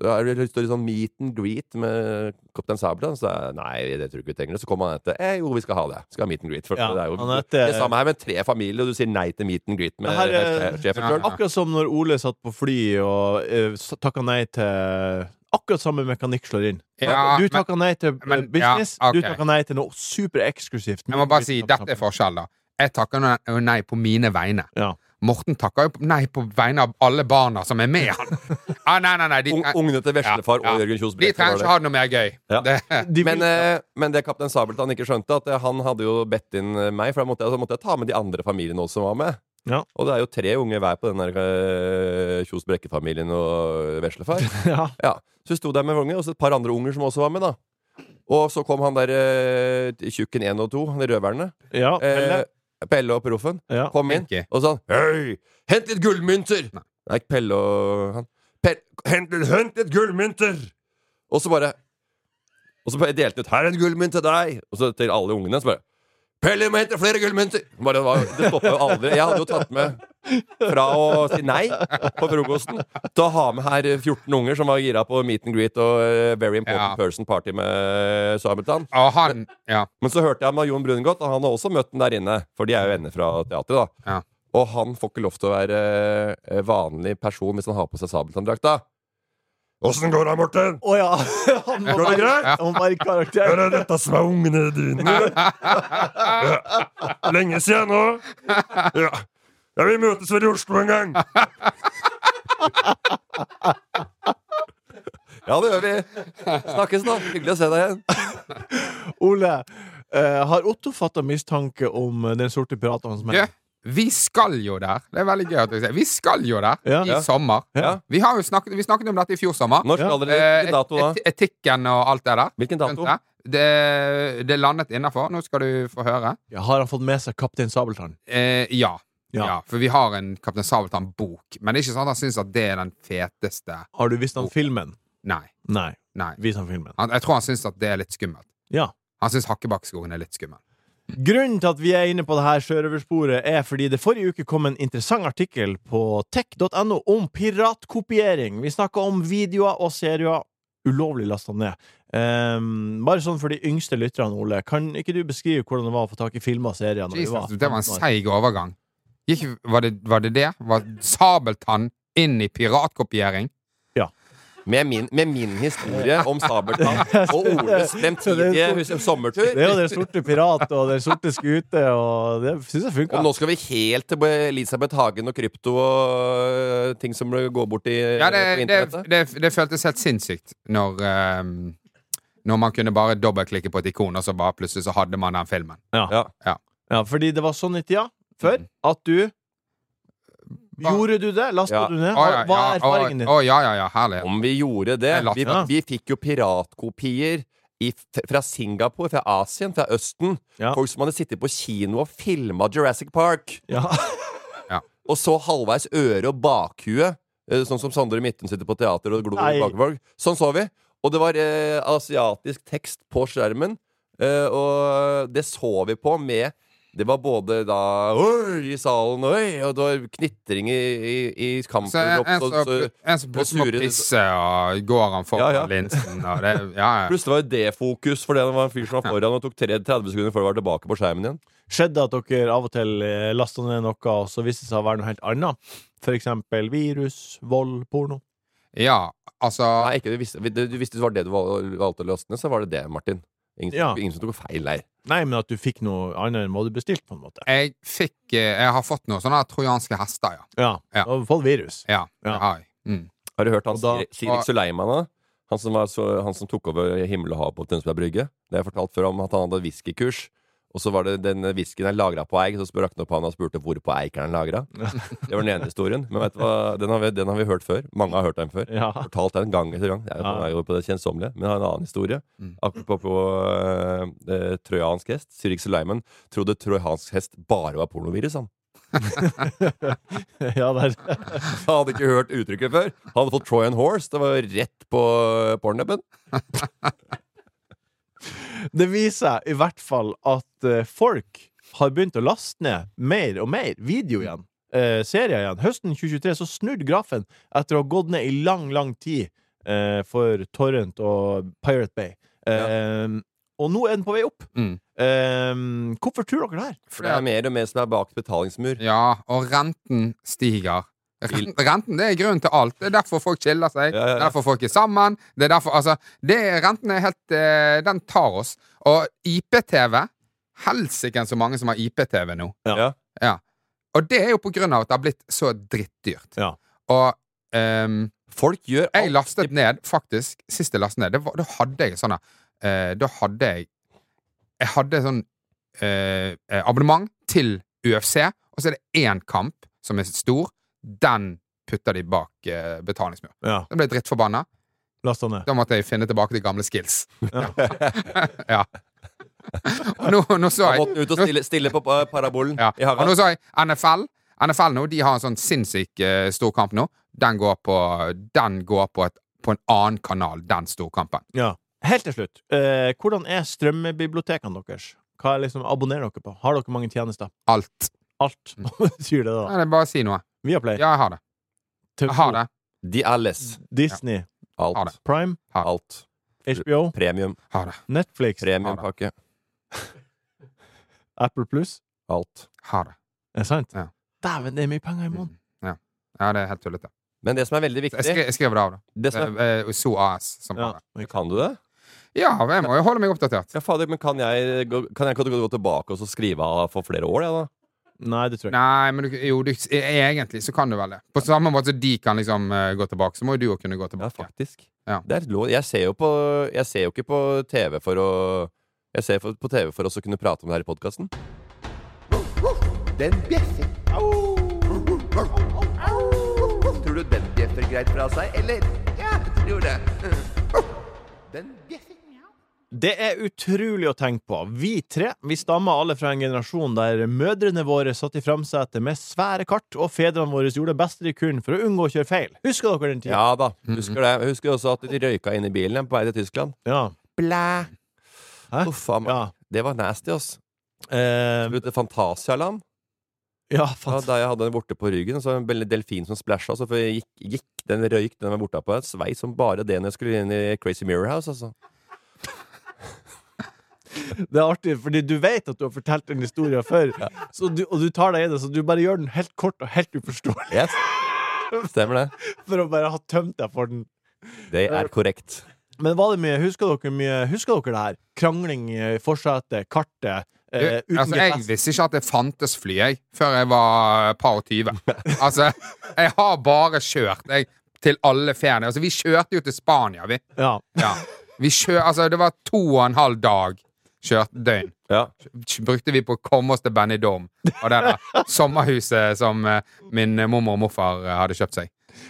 så har du lyst til å liksom meet and greet med kaptein Sabeltann? Så jeg, nei, det tror jeg ikke vi trenger. det. Så kommer han etter. Eh, jo, vi skal ha det. Skal ha meet and greet. For
Ja,
det er jo
han heter-
det samme her med tre familier, og du sier nei til meet and greet med
Det her er-
sjefen
eh, Ja.
sjøl.
Akkurat som når Ole satt på fly og uh, takka nei til Akkurat samme mekanikk slår inn.
Ja,
du
men-
takka nei til eh,
men- ja,
business,
ok.
du takka nei til noe supereksklusivt.
Jeg må bare si, dette er forskjell, da. Jeg takker nei- jo nei på mine vegne.
Ja.
Morten takker jo nei på vegne av alle barna som er med han. Ah, nei, nei, nei, de,
Ung- Ungene til veslefar
Ja,
og
ja.
Jørgen Kjos
de
Brekke
trenger
var
ikke
der.
ha det noe mer gøy.
Ja.
Det,
De
Men,
vil-
eh, men det kaptein Sabeltann ikke skjønte, at eh, han hadde jo bedt inn eh, meg, for da måtte jeg, så måtte jeg ta med de andre familiene også som var med.
Ja.
Og det er jo tre unge hver på den der eh, Kjos Brekke-familien og veslefar.
ja.
Ja, så sto der med unge, og så et par andre unger som også var med, da. Og så kom han der eh, tjukken 1 og 2, de røverne.
ja,
Eh,
Pelle.
Pelle og Proffen
Ja.
kom inn
Henke.
og sa Hei, hent litt gullmynter!
Nei.
Nei, ikke Pelle og han. Pelle, hent, litt- hent litt gullmynter! Og så bare Og så bare delte han ut Her er en gullmynt til deg! Og så til alle ungene. Så bare Pelle må hente flere gullmynter! Bare, det var- det stoppa jo aldri. Jeg hadde jo tatt med fra å si nei på frokosten til å ha med her 14 unger som var gira på meet and greet og eh, very important
Ja.
person party med Sabeltann.
og han Ja.
Men så hørte jeg med Jon Brungot, og han har også møtt den der inne. For de er jo venner fra teatret, da.
Ja.
Og han får ikke lov til å være eh, vanlig person hvis han har på seg sabeltanndrakta. Åssen går det, Morten?
Å ja! Han må
Går det
være,
greit?
han må være i karakter.
det dette som er ungene dine? Lenge siden nå. Ja. ja, vi møtes vel i Oslo en gang. Ja, det gjør vi. Snakkes, da. Hyggelig å se deg igjen.
Ole, eh, har Otto fatta mistanke om eh, den sorte piraten hans
Du, vi skal jo der. Det er veldig gøy at du sier Vi skal jo der
Ja.
i sommer.
Ja.
Vi, har jo snakket, vi snakket om dette i fjor sommer.
Når skal dere
Eh,
Hvilken dato,
et-
da?
Etikken og alt det der.
Hvilken dato?
Skjønte jeg? Det, det landet innafor. Nå skal du få høre.
Ja, har han fått med seg Kaptein Sabeltann?
Eh, ja.
Ja.
ja. For vi har en Kaptein Sabeltann-bok. Men det er ikke sånn at han syns at det er den feteste
Har du vist han filmen?
Nei.
Nei.
nei
Vis han filmen.
han, Jeg tror han syns at det er litt skummelt.
Ja.
Han syns Hakkebakkskogen er litt skummel.
Grunnen til at vi er inne på det her sjørøversporet, er fordi det forrige uke kom en interessant artikkel på tech.no om piratkopiering. Vi snakka om videoer og serier ulovlig lasta ned. Ehm, bare sånn for de yngste lytterne, Ole. Kan ikke du beskrive hvordan det var å få tak i filmer og serier? Når vi
Jesus,
var
det var en
15 år?
seig overgang. Gikk, var, det, var det det? Var Sabeltann inn i piratkopiering?
Med min, med min historie om Sabeltann og Oles fremtidige hus- sommertur.
Det er jo Den sorte pirat og Den sorte skute, og det syns jeg funka.
Og nå skal vi helt til Elisabeth Hagen og krypto og øh, ting som går bort i
Ja,
på
det, det,
internettet.
det, det føltes helt sinnssykt når ehm, når man kunne bare dobbeltklikke på et ikon, og så bare plutselig så hadde man den filmen.
Ja.
Ja, fordi det var sånn i tida før at du
Ba-
Gjorde du det? Lasta
Ja.
du ned?
Å, ja,
Hva
ja,
er erfaringen
å,
din?
å, ja, ja, ja, herlig.
Om vi gjorde det
Jeg la-
Vi,
Ja.
vi fikk jo piratkopier i, f- fra Singapore, fra Asien, fra Østen.
Ja.
Folk som hadde sittet på kino og filma Jurassic Park.
Ja.
Og så halvveis øre og bakhue eh, sånn som Sondre Midtun sitter på teater og glor
Nei.
bak folk. Sånn så vi. Og det var eh, asiatisk tekst på skjermen, eh, og det så vi på med det var både da Oi! i salen, oi! og det var knitring i, i, i kampen.
Så en, en,
og-
som-
så-
en som plutselig må
sure-
pisse, og går han foran
Ja, ja.
linsen og det, ja, ja.
Plutselig var jo det fokus, fordi det var en fyr som var foran og tok tre- 30 sekunder før det var tilbake på skjermen igjen.
Skjedde at dere av og til eh, lasta ned noe, og så viste det seg å være noe helt annet? For eksempel virus, vold, porno.
ja, altså
Nei, ikke, du, visste, du, du visste det var det du val- valgte å laste ned, så var det det, Martin. Ingen,
Ja.
ingen som tok feil der.
Nei, men at du fikk noe annet enn hva du bestilte, på en måte.
Jeg fikk eh, Jeg har fått noen sånne trojanske hester, ja.
Ja.
Ja.
Og fått virus.
Ja,
Ja.
det har jeg. Mm.
Har du hørt han
Og da-
Sir- Sirik Suleimana? Han som, var så, han som tok over Himmel og hav på Tønsberg Brygge. Det har jeg fortalt før om at han hadde whiskykurs. Og så var det den whiskyen er lagra på eik, så spør rakk han opp han og spurte hvor på eik er den lagra. Det var den ene historien. Men vet du hva, den har, vi, den har vi hørt før. Mange har hørt den før.
Ja.
Fortalt den gang etter gang. Jeg er jo
Ja.
jeg er jo på det kjedsommelige. Men jeg har en annen historie.
Mm.
Akkurat på eh, eh, trojansk hest. Sirik Suleiman trodde trojansk hest bare var pornovirus, han.
ja, der.
Han hadde ikke hørt uttrykket før. Han hadde fått Trojan Horse. Det var jo rett på eh, pornhuben.
Det viser seg i hvert fall at eh, folk har begynt å laste ned mer og mer video igjen. Eh, serier igjen. Høsten 2023 så snudde grafen etter å ha gått ned i lang, lang tid eh, for Torrent og Pirate Bay. Eh, Og nå er den på vei opp.
Mm.
Eh, hvorfor tror dere det her?
For det er mer og mer som er bak betalingsmur.
Ja, og renten stiger. Ren- Renten det er grunnen til alt. Det er derfor folk skiller seg.
Ja, ja, ja.
Det er derfor folk er sammen. Det er derfor, altså, det, er- renten er helt eh, Den tar oss. Og IPTV Helsike så mange som har IPTV nå.
Ja.
Ja.
Ja. Og det er jo på grunn av at det har blitt så drittdyrt.
Ja.
Og ehm,
Folk gjør
jeg
alt.
lastet ned, faktisk, sist jeg lastet ned, det var, da hadde jeg sånne eh, Da hadde jeg Jeg hadde sånn eh, eh, abonnement til UFC, og så er det én kamp som er stor. Den putter de bak eh, betalingsmur.
Ja,
Da ble jeg drittforbanna.
lasta ned.
Da måtte jeg finne tilbake til gamle skills. ja. Og nå, nå så
Han
jeg
måtte ut og
nå-
stille, stille på eh, parabolen
ja.
i
Og nå
hagen.
så jeg NFL. NFL nå, de har en sånn sinnssyk eh, stor kamp nå. Den går på, den går på, et, på en annen kanal, den storkampen.
Ja. Helt til slutt, eh, hvordan er strømmebibliotekene deres? Hva er liksom abonnerer dere på? Har dere mange tjenester?
Alt.
Alt. Sier det, da.
Nei, det er bare å si noe.
Viaplay,
Mm. Ja, jeg har det.
TV2,
Jeg har det.
De er less.
Disney,
sånn- Ha
Alt.
det.
Prime,
Alt.
HBO,
Premium.
Har det.
Netflix,
Premiumpakke.
Apple Pluss.
Alt.
Har det.
Er det sant?
Ja.
Dæven, det er mye penger i måneden.
Ja. ja, det er helt tullete.
Men det som er veldig
Jeg,
viktig
skri, jeg skriver det av, da.
det som er,
Eh, eh, So AS som
Ja.
har det.
Kan du det?
Ja, jeg må jo holde meg oppdatert.
Ja, fader, men kan jeg, gå, kan jeg gå gå tilbake og så skrive av for flere år, jeg, da?
Nei, det tror jeg ikke.
Nei, men du, jo, du, e-, egentlig så kan du vel det. På samme måte som de kan liksom eh, gå tilbake, så må jo du òg kunne gå
Ja,
tilbake.
faktisk.
Ja.
Det er lov. Jeg ser jo på Jeg ser jo ikke på TV for å Jeg ser for, på TV for å også kunne prate om det her i podkasten.
Den bjeffer. Au! Tror du den bjeffer greit fra seg, eller? Ja, jeg tror det. Den bjeffer.
Det er utrolig å tenke på. Vi tre vi stammer alle fra en generasjon der mødrene våre satt i framsetet med svære kart, og fedrene våre gjorde det beste de kunne for å unngå å kjøre feil. Husker dere den tida?
Ja da. Husker
Mhm.
det. Jeg husker også at de røyka inn i bilen jeg, på vei til Tyskland.
Ja.
Blæ!
Hæ?
Uff a meg.
Ja.
Det var nasty, ass.
Eh,
Brukte Fantasialand.
ja,
Ja,
faen.
da jeg hadde den vorte på ryggen, så var det en veldig delfin som splæsja, så jeg gikk, gikk den røyk den var vorta på. Jeg svei som bare det når jeg skulle inn i Crazy Mirror House, altså.
Det er artig, fordi du vet at du har fortalt den historien før, så du, og du tar deg i det, så du bare gjør den helt kort og helt uforståelig
Yes. Stemmer det.
for å bare ha tømt deg for den.
Det er korrekt.
Men var det mye, husker dere mye Husker dere det her? Krangling i forsetet, kartet,
Du,
eh, uten
altså, jeg
GPS.
visste ikke at det fantes fly jeg, før jeg var et par og tyve. Altså, jeg har bare kjørt jeg, til alle feriene. Altså, vi kjørte jo til Spania, vi.
Ja.
Ja. vi kjør, altså, det var to og en halv dag kjørt døgn.
Ja.
Kj- Brukte vi på å komme oss til Benidorm og det der sommerhuset som eh, min mormor og morfar eh, hadde kjøpt seg.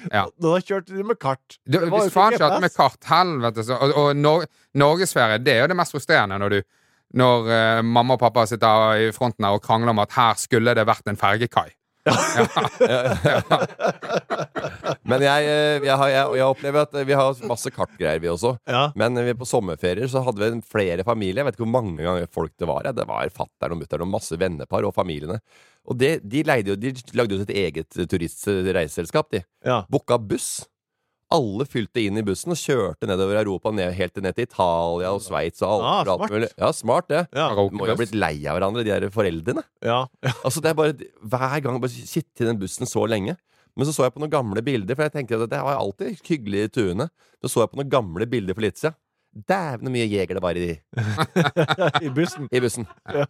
Ja.
Da kjørte de med kart.
Du,
Det var jo
hvis
ikke
faen ikke at med
GPS.
kart, helvete så, Og, og Nor norgesferie, det er jo det mest frustrerende når du Når eh, mamma og pappa sitter i fronten her og krangler om at her skulle det vært en fergekai. Ja.
Men jeg, eh, jeg, har- jeg, jeg opplever at eh, vi har masse kartgreier, vi også.
Ja.
Men eh, vi på sommerferier så hadde vi en- flere familier. Jeg vet ikke hvor mange ganger folk det var. jeg. Det var fatter'n og mutter'n og masse vennepar og familiene. Og det, de, leide, jo- de lagde jo sitt eget eh, turistreiseselskap, de.
Ja.
Booka buss. Alle fylte inn i bussen og kjørte nedover Europa, ned, helt ned til Italia og Sveits og alt.
Ah,
og alt
smart.
mulig. Ja, smart det.
Ja.
Må jo ha blitt lei av hverandre, de der foreldrene.
Ja.
Altså, det er bare Hver gang bare sitte i den bussen så lenge. Men så så jeg på noen gamle bilder, for jeg tenkte at det var alltid hyggelig i tuene. Så så jeg på noen gamle bilder for litt siden. Dæven så mye jeger det var i,
I bussen.
i bussen.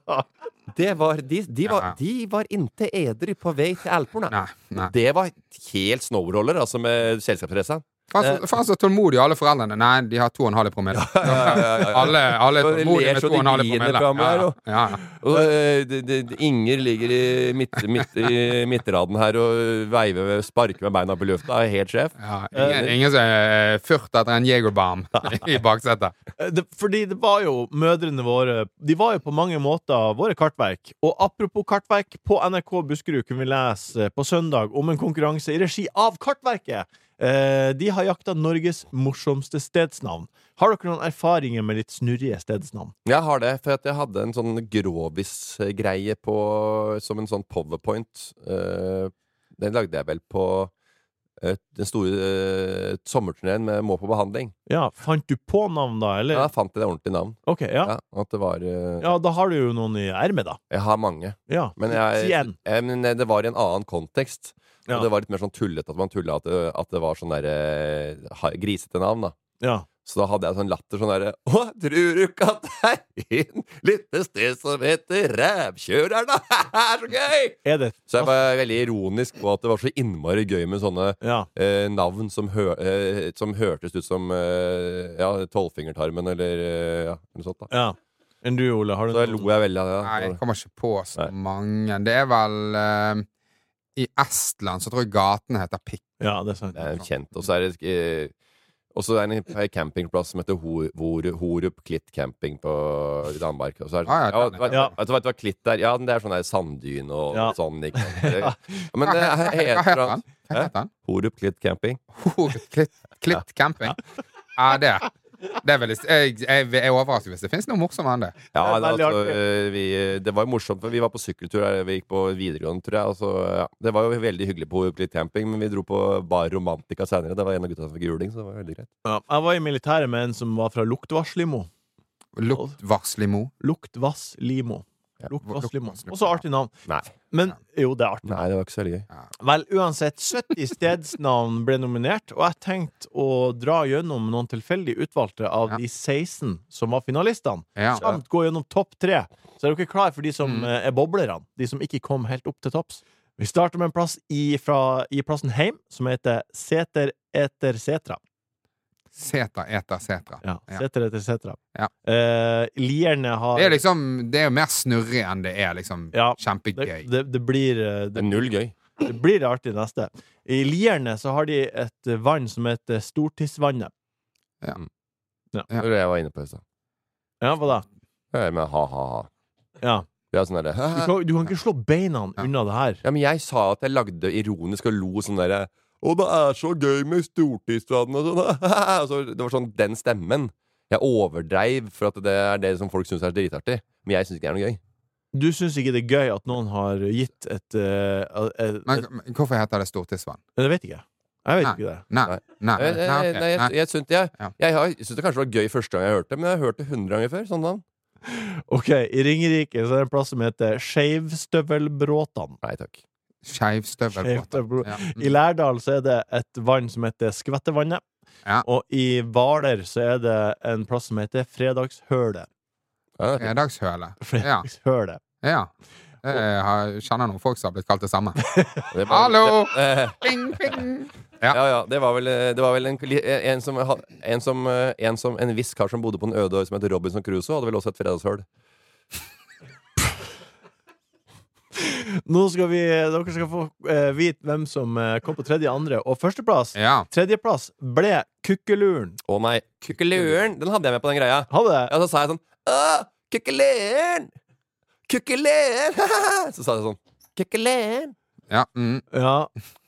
Ja.
Det var, de, de var,
Ja.
de var inte edru på vei til Alporna.
Nei, nei.
Det var helt snowroller, altså, med selskapsreise.
Faen
Eh.
så- faen så tålmodige alle foreldrene. Nei, de har 2,5 i promille. Alle, alle er
Og de
tålmodige
ler
med
så de
2,5 i
griner
promille.
fram her,
Ja,
og-
ja, ja.
Og, eh, det- det- det- Inger ligger i, midt, midt, i midtraden her og veiver, sparker med beina på lufta. Er helt sjef.
Ja,
Eh,
ingen, ingen som er furt etter en Jegerbarm i baksetet.
Eh, det, fordi det var jo mødrene våre De var jo på mange måter våre kartverk. Og apropos kartverk, på NRK Buskerud kunne vi lese eh, på søndag om en konkurranse i regi av Kartverket. Eh, de har jakta Norges morsomste stedsnavn. Har dere noen erfaringer med litt snurrige stedsnavn?
Jeg har det, for at jeg hadde en sånn grovis-greie på Som en sånn powerpoint. Eh, Den lagde jeg vel på eh, den store uh, sommerturneen med Må på behandling.
Ja, Fant du på navn, da? Eller?
Ja, Da fant jeg det ordentlige navn.
Ok, ja.
Ja, at det var eh,
ja, da har du jo noen i ermet, da.
Jeg har mange.
Ja.
Men, jeg,
Si en.
eh, men det var i en annen kontekst.
Ja.
Og det var litt mer sånn tullete at man tullet at, det- at det var sånn der eh, ha- grisete navn, da.
Ja.
Så da hadde jeg sånn latter sånn derre Å, tror du ikke at det er en lite sted som heter Rævkjøreren, da? Det er så gøy!
Er det
Så jeg var veldig ironisk på at det var så innmari gøy med sånne
Ja.
eh, navn som, hø eh, som hørtes ut som eh, ja, tolvfingertarmen eller eh, ja, noe sånt, da.
ja. Enn du, Ole? Har du
Så da lo jeg veldig av det.
Nei,
da.
jeg kommer ikke på så mange. Det er vel eh, I Estland så tror jeg gatene heter pikk.
Ja, det er sant.
Det er jo kjent. Og så er det eh, og så er det en campingplass som heter Ho- Hvor- Horup Klitt camping på i Danmark. Og så er det,
Ah, ja,
ja,
den er-
vet-
ja.
vet du hva det var Klitt der? Ja, men det er sånn der sanddyn og
Ja.
sånn. Ikke? sant? Det- Men
Hva
det
he-
er-
hva
heter
heter
han
han? Hva heter han?
Horup Klitt camping.
Klitt, klitt camping? Ja, det. det er veldig, jeg, jeg, jeg er overrasket hvis det finnes noe morsommere enn det.
Ja,
Det er
det,
veldig
altså,
artig.
eh, vi, det var jo morsomt, for vi var på sykkeltur her. Vi gikk på videregående, tror jeg. Og så, ja. Det var jo veldig hyggelig på Horup Klitt camping, men vi dro på Bar Romantica senere. Det var en av gutta som fikk juling, så det var veldig greit.
Ja. Jeg var i militæret med en som var fra Luktvarslimo.
Luktvarslimo.
Luktvasslimo.
Ja.
Luktvasslimo.
Luktvasslimo.
Også artig navn.
Nei,
Men jo, det er artig.
Nei det var ikke så veldig gøy.
Vel, uansett, 70 stedsnavn ble nominert, og jeg tenkte å dra gjennom noen tilfeldig utvalgte av
Ja.
de 16 som var finalistene,
Ja.
samt gå gjennom topp tre. Så er dere klar for de som
Mm.
eh, er boblerne, de som ikke kom helt opp til topps. Vi starter med en plass i, fra, i plassen heim, som heter Seter etter setra.
Seta eter setra.
Ja,
Ja.
Seter etter setra.
Ja.
Eh, lierne har
Det er liksom Det er jo mer snurrig enn det er liksom
Ja. det,
kjempegøy.
det, det blir eh,
Det
det,
er null gøy.
Det blir artig neste. I Lierne så har de et eh, vann som heter Stortidsvannet.
Det var det jeg var inne på i stad.
Ja, hva da?
Ja, Men ha-ha-ha.
Ja.
Det er sånn derre
Du, kan, du kan ikke slå beina unna det her.
Ja, men jeg sa at jeg lagde ironisk og lo sånn derre Å, det er så gøy med stortingsstanden og sånn. Og så, det var sånn den stemmen. Jeg overdreiv for at det er det som folk syns er dritartig. Men jeg syns ikke det er noe gøy.
Du syns ikke det er gøy at noen har gitt et, eh, et,
Men,
et,
men hvorfor heter det stortidsvann?
Jeg vet ikke. Jeg vet ikke det. Eh,
Nei.
Nei.
Nei.
Jeg, jeg,
Nei, ok.
Eh, nei, jeg,
Nei.
jeg, syns- jeg,
Ja.
jeg, har- jeg syns det kanskje var gøy første gang jeg hørte det, men jeg har hørt det hundre ganger før. Sånn da.
OK, i Ringerike så er det en plass som heter Skeivstøvelbråtan.
Nei takk.
Skeivstøvelbåter.
Skeivstøvelbro-
Ja. Mm.
I Lærdal så er det et vann som heter Skvettevannet.
Ja.
Og i Hvaler så er det en plass som heter Fredagshølet.
Ja, det er fint.
Fredagshøle. Ja.
Fredagshølet.
Ja. Jeg har- kjenner noen folk som har blitt kalt det samme.
Det var-
Hallo!
Eh,
Ping, ping!
Ja, ja, det var vel, eh, det var vel en, li- en, som, had- en, som, eh, en som En viss kar som bodde på en øde øy som het Robinson Crusoe, hadde vel også et fredagshøl.
Nå skal vi, dere skal få eh, vite hvem som eh, kom på tredje, andre og førsteplass.
Ja.
Tredjeplass ble Kukkeluren.
Å nei. Kukkeluren! Den hadde jeg med på den greia.
Ha det!
Ja, så sa jeg sånn Åh, kukkeleen! Kukkeleen! så sa jeg sånn Kukkeleen!
ja. Mm.
Ja,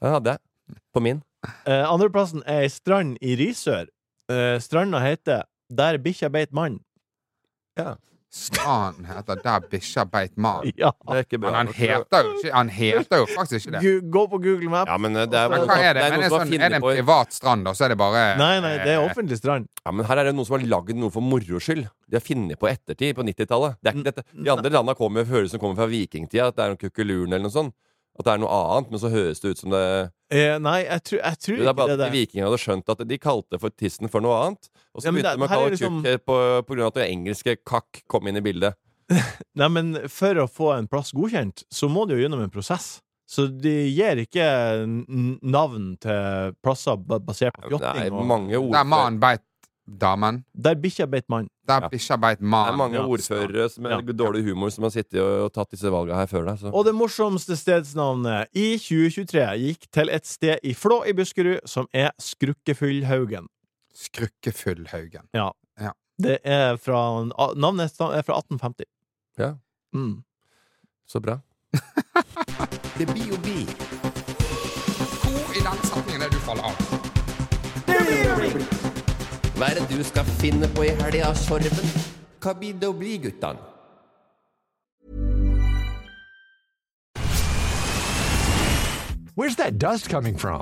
Den hadde jeg. På min.
Eh, Andreplassen er ei strand i Risør. Eh, stranda heter Der bikkja beit mann.
Staden heter Der bikkja beit mann.
Ja.
Det er ikke
Men
bra.
han heter jo ikke Han heter jo faktisk ikke det.
Gu- Gå på Google Map.
Ja, men eh, det er,
Men
noen
hva
som-
er det?
det er
Men
noen
er,
som har
sånn, er det
funnet
en
på
privat strand, da, så er det bare
Nei, nei, det er
eh,
offentlig strand.
Ja, men her er det noen som har lagd noe for moro skyld. De har funnet på ettertid, på 90-tallet. Det er ikke dette. De andre landa kommer, høres som kommer fra vikingtida, at det er noen kukkeluren eller noe sånt. At det er noe annet, men så høres det ut som det
Eh, nei, jeg, tror- jeg tror
Det er
ikke
bare
det
at
der.
vikingene hadde skjønt at de kalte for tissen for noe annet. Og så
Ja, men
begynte
det-
de å
her
kalle
er liksom-
kukk eh, på, på grunn av at det engelske kakk kom inn i bildet.
Nei, men for å få en plass godkjent, så må du jo gjennom en prosess. Så de gir ikke n- navn til plasser ba- basert på
Det er
fjotting. og-
mange
Der
ordførere,
mannen beit damen.
Der bikkja beit mann.
Der
Ja.
bikkja beit
det er
mannen.
mange
Ja.
ordførere som med
Ja.
dårlig humor som har sittet og, og tatt disse valga her før deg. Så.
Og det morsomste stedsnavnet i 2023 gikk til et sted i Flå i Buskerud som er Skrukkefullhaugen.
Skrukkefull Haugen.
Det er fra, a- navnet sta- er fra 1850.
Ja.
Mm.
så bra.
Det blir jo bi.
Hvor i den setningen er du faller av?
Hva er det du skal finne på i helga, Sorven? Hva blir det å bli, guttan?
Where's that dust coming from?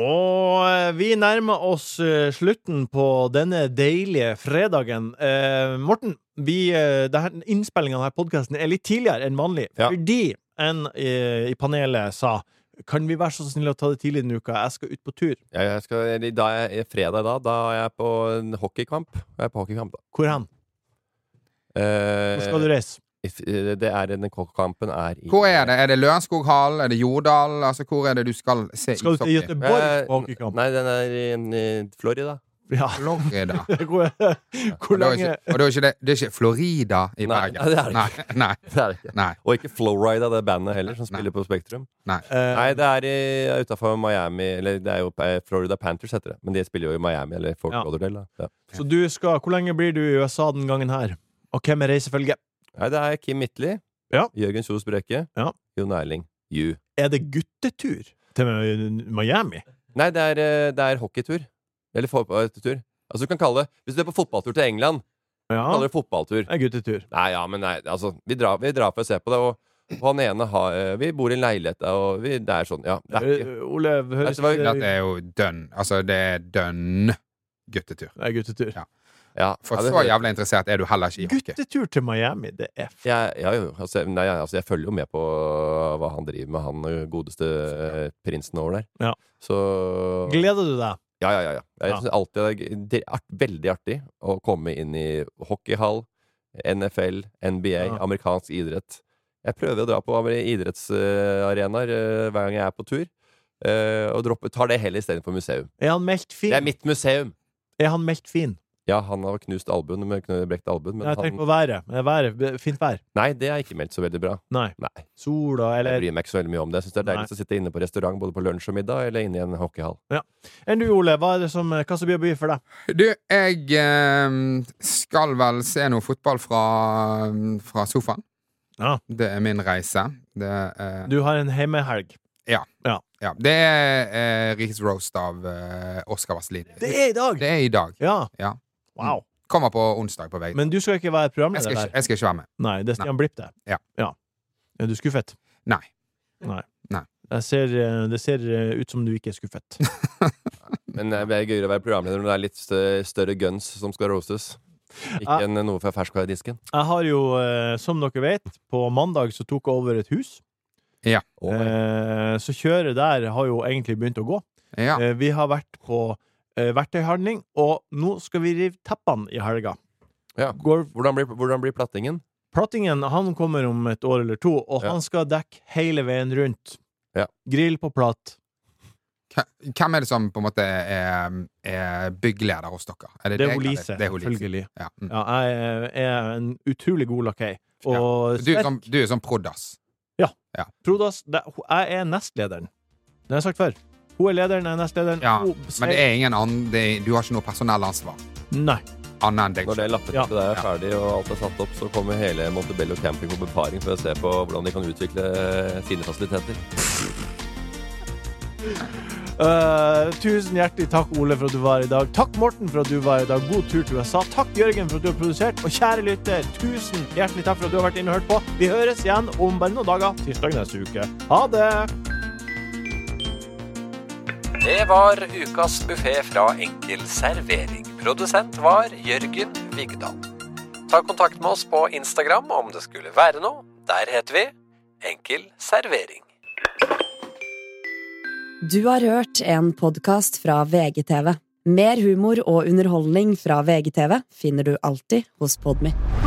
Og eh, vi nærmer oss eh, slutten på denne deilige fredagen. Eh, Morten, vi, eh, det her- innspillingen av denne podkasten er litt tidligere enn vanlig,
Ja.
fordi en eh, i panelet sa kan vi være så snille å ta det tidlig denne uka? Jeg skal ut på tur.
Jeg, jeg skal, eller da er jeg, fredag da, da er jeg på en hockeykamp. Jeg er på hockeykamp da.
Hvor hen?
Eh,
Hvor skal du reise?
if- eh, Det er den kampen er i
Hvor er det? Er det Lørenskoghallen? Er det Jordal? Altså, hvor er det du skal se
Skal du til
ishockey?
Göteborg
Eh,
på hockeykamp?
Nei, den er i eh, Florida.
Ja.
Florida.
Hvor, hvor
Og da er
lenge
ikke- Og det er ikke, det, det er ikke Florida i
Nei,
Bergen.
det er det
Nei, nei,
Det er det ikke.
nei,
Og ikke Florida, det bandet heller, som spiller på Spektrum.
nei.
Eh,
Nei, det er i- utenfor Miami Eller det er jo eh, Florida Panthers heter det. Men de spiller jo i Miami eller Fort
Ja.
Lauderdale. Da. Ja.
Så du skal Hvor lenge blir du i USA den gangen her? Og hvem er reisefølget?
Nei, det er Kim Midtly.
Ja.
Jørgen Kjos Brekke.
Ja.
Jon Erling. You.
Er det guttetur til Miami?
Nei, det er, eh, det er hockeytur. Eller fotballtur. Altså, du kan kalle det Hvis du er på fotballtur til England,
Ja,
kaller du det fotballtur.
det er guttetur.
Nei, ja, men nei, altså Vi drar, vi drar for å se på det, og, og han ene har eh, Vi bor i en leilighet, og vi, det er sånn, ja. Det er ikke
Eh, Olav, høres
Nei, så var det
At Det er jo dønn. Altså, det er dønn guttetur.
Det er guttetur.
ja,
For
ja, det-
så jævlig interessert er du heller ikke i hockey.
Guttetur til Miami, det er f...
Jeg, ja, jo, altså, nei, altså, jeg følger jo med på hva han driver med, han eh, godeste eh, prinsen over der.
Ja.
Så
Gleder du deg?
Ja, ja, ja. ja. Jeg
Ja.
synes alltid det er g- det er art, veldig artig å komme inn i hockeyhall, NFL, NBA,
Ja.
amerikansk idrett. Jeg prøver å dra på idrettsarenaer hver gang jeg er på tur, eh, og dropper, tar det heller istedenfor museum.
Er han meldt fin?
Det er mitt museum!
Er han meldt fin?
Ja, han har knust albuen, men knust- brekt albuen, men
Jeg tenker
han
på været. Er været. b- Fint vær?
Nei, det er ikke meldt så veldig bra.
Nei.
Nei.
Sola,
Jeg
eller
bryr meg ikke så veldig mye om det. Jeg synes det er deilig å sitte inne på restaurant både på lunsj og middag, eller inne i en hockeyhall.
Enn du, Ole, hva er det som Hva som blir å by for deg?
Du, jeg eh, skal vel se noe fotball fra, fra sofaen.
Ja.
Det er min reise. Det, eh,
Du har en heimehelg.
ja. det er eh, Rikets roast av eh, Oskar Vazelin.
Det er i dag!
Det er i dag.
Ja.
Ja.
Wow.
Kommer på onsdag på vei.
Men du skal ikke være
Jeg skal,
programleder
ikke,
der?
jeg skal ikke være med.
Nei, det er Stian Blipp, det.
Ja.
ja. Er du skuffet?
Nei.
Nei.
Nei.
Jeg ser, eh, det ser eh, ut som du ikke er skuffet.
Men eh, det er gøyere å være programleder når det er litt stø- større guns som skal roastes. Ikke
Ah.
enn noe fra ferskvaredisken.
Jeg har jo, eh, som dere vet, på mandag så tok jeg over et hus.
Å,
Eh, så kjøret der har jo egentlig begynt å gå.
Ja.
Eh, vi har vært på eh, verktøyhandling, og nå skal vi rive teppene i helga.
Ja.
Går,
Hvordan blir, hvordan blir plattingen?
plattingen han kommer om et år eller to, og
Ja.
han skal dekke hele veien rundt.
Ja.
Grill på platt.
Hva- Hvem er det som på en måte er, er byggleder hos dere? Er
Det er
deg, eller?
Olise,
Det er Olise.
selvfølgelig.
Ja. Mm.
Ja, jeg er en utrolig god lakei. Og
Du, er
sterk.
som, du er som prodas.
Prodas, det, hun- jeg er nestlederen. Det har jeg sagt før. Hun er lederen, jeg er nestlederen.
Ja.
Hun sier-
Men det er ingen annen, det er, du har ikke noe personellansvar
Nei.
annet enn deg
Når det
selv.
lappeteppet
Ja.
der er
Ja.
ferdig og alt er satt opp, så kommer hele Montebello camping på befaring for å se på hvordan de kan utvikle sine fasiliteter.
Eh, tusen hjertelig takk, Ole, for at du var her i dag. Takk, Morten, for at du var her i dag. God tur til USA. Takk, Jørgen, for at du har produsert. Og kjære lytter, tusen hjertelig takk for at du har vært inne og hørt på. Vi høres igjen om bare noen dager, tirsdag neste uke. Ha det!
Det var ukas buffé fra Enkel servering. Produsent var Jørgen Vigdal. Ta kontakt med oss på Instagram om det skulle være noe. Der heter vi Enkel servering.
Du har hørt en podkast fra VGTV. Mer humor og underholdning fra VGTV finner du alltid hos Podmy.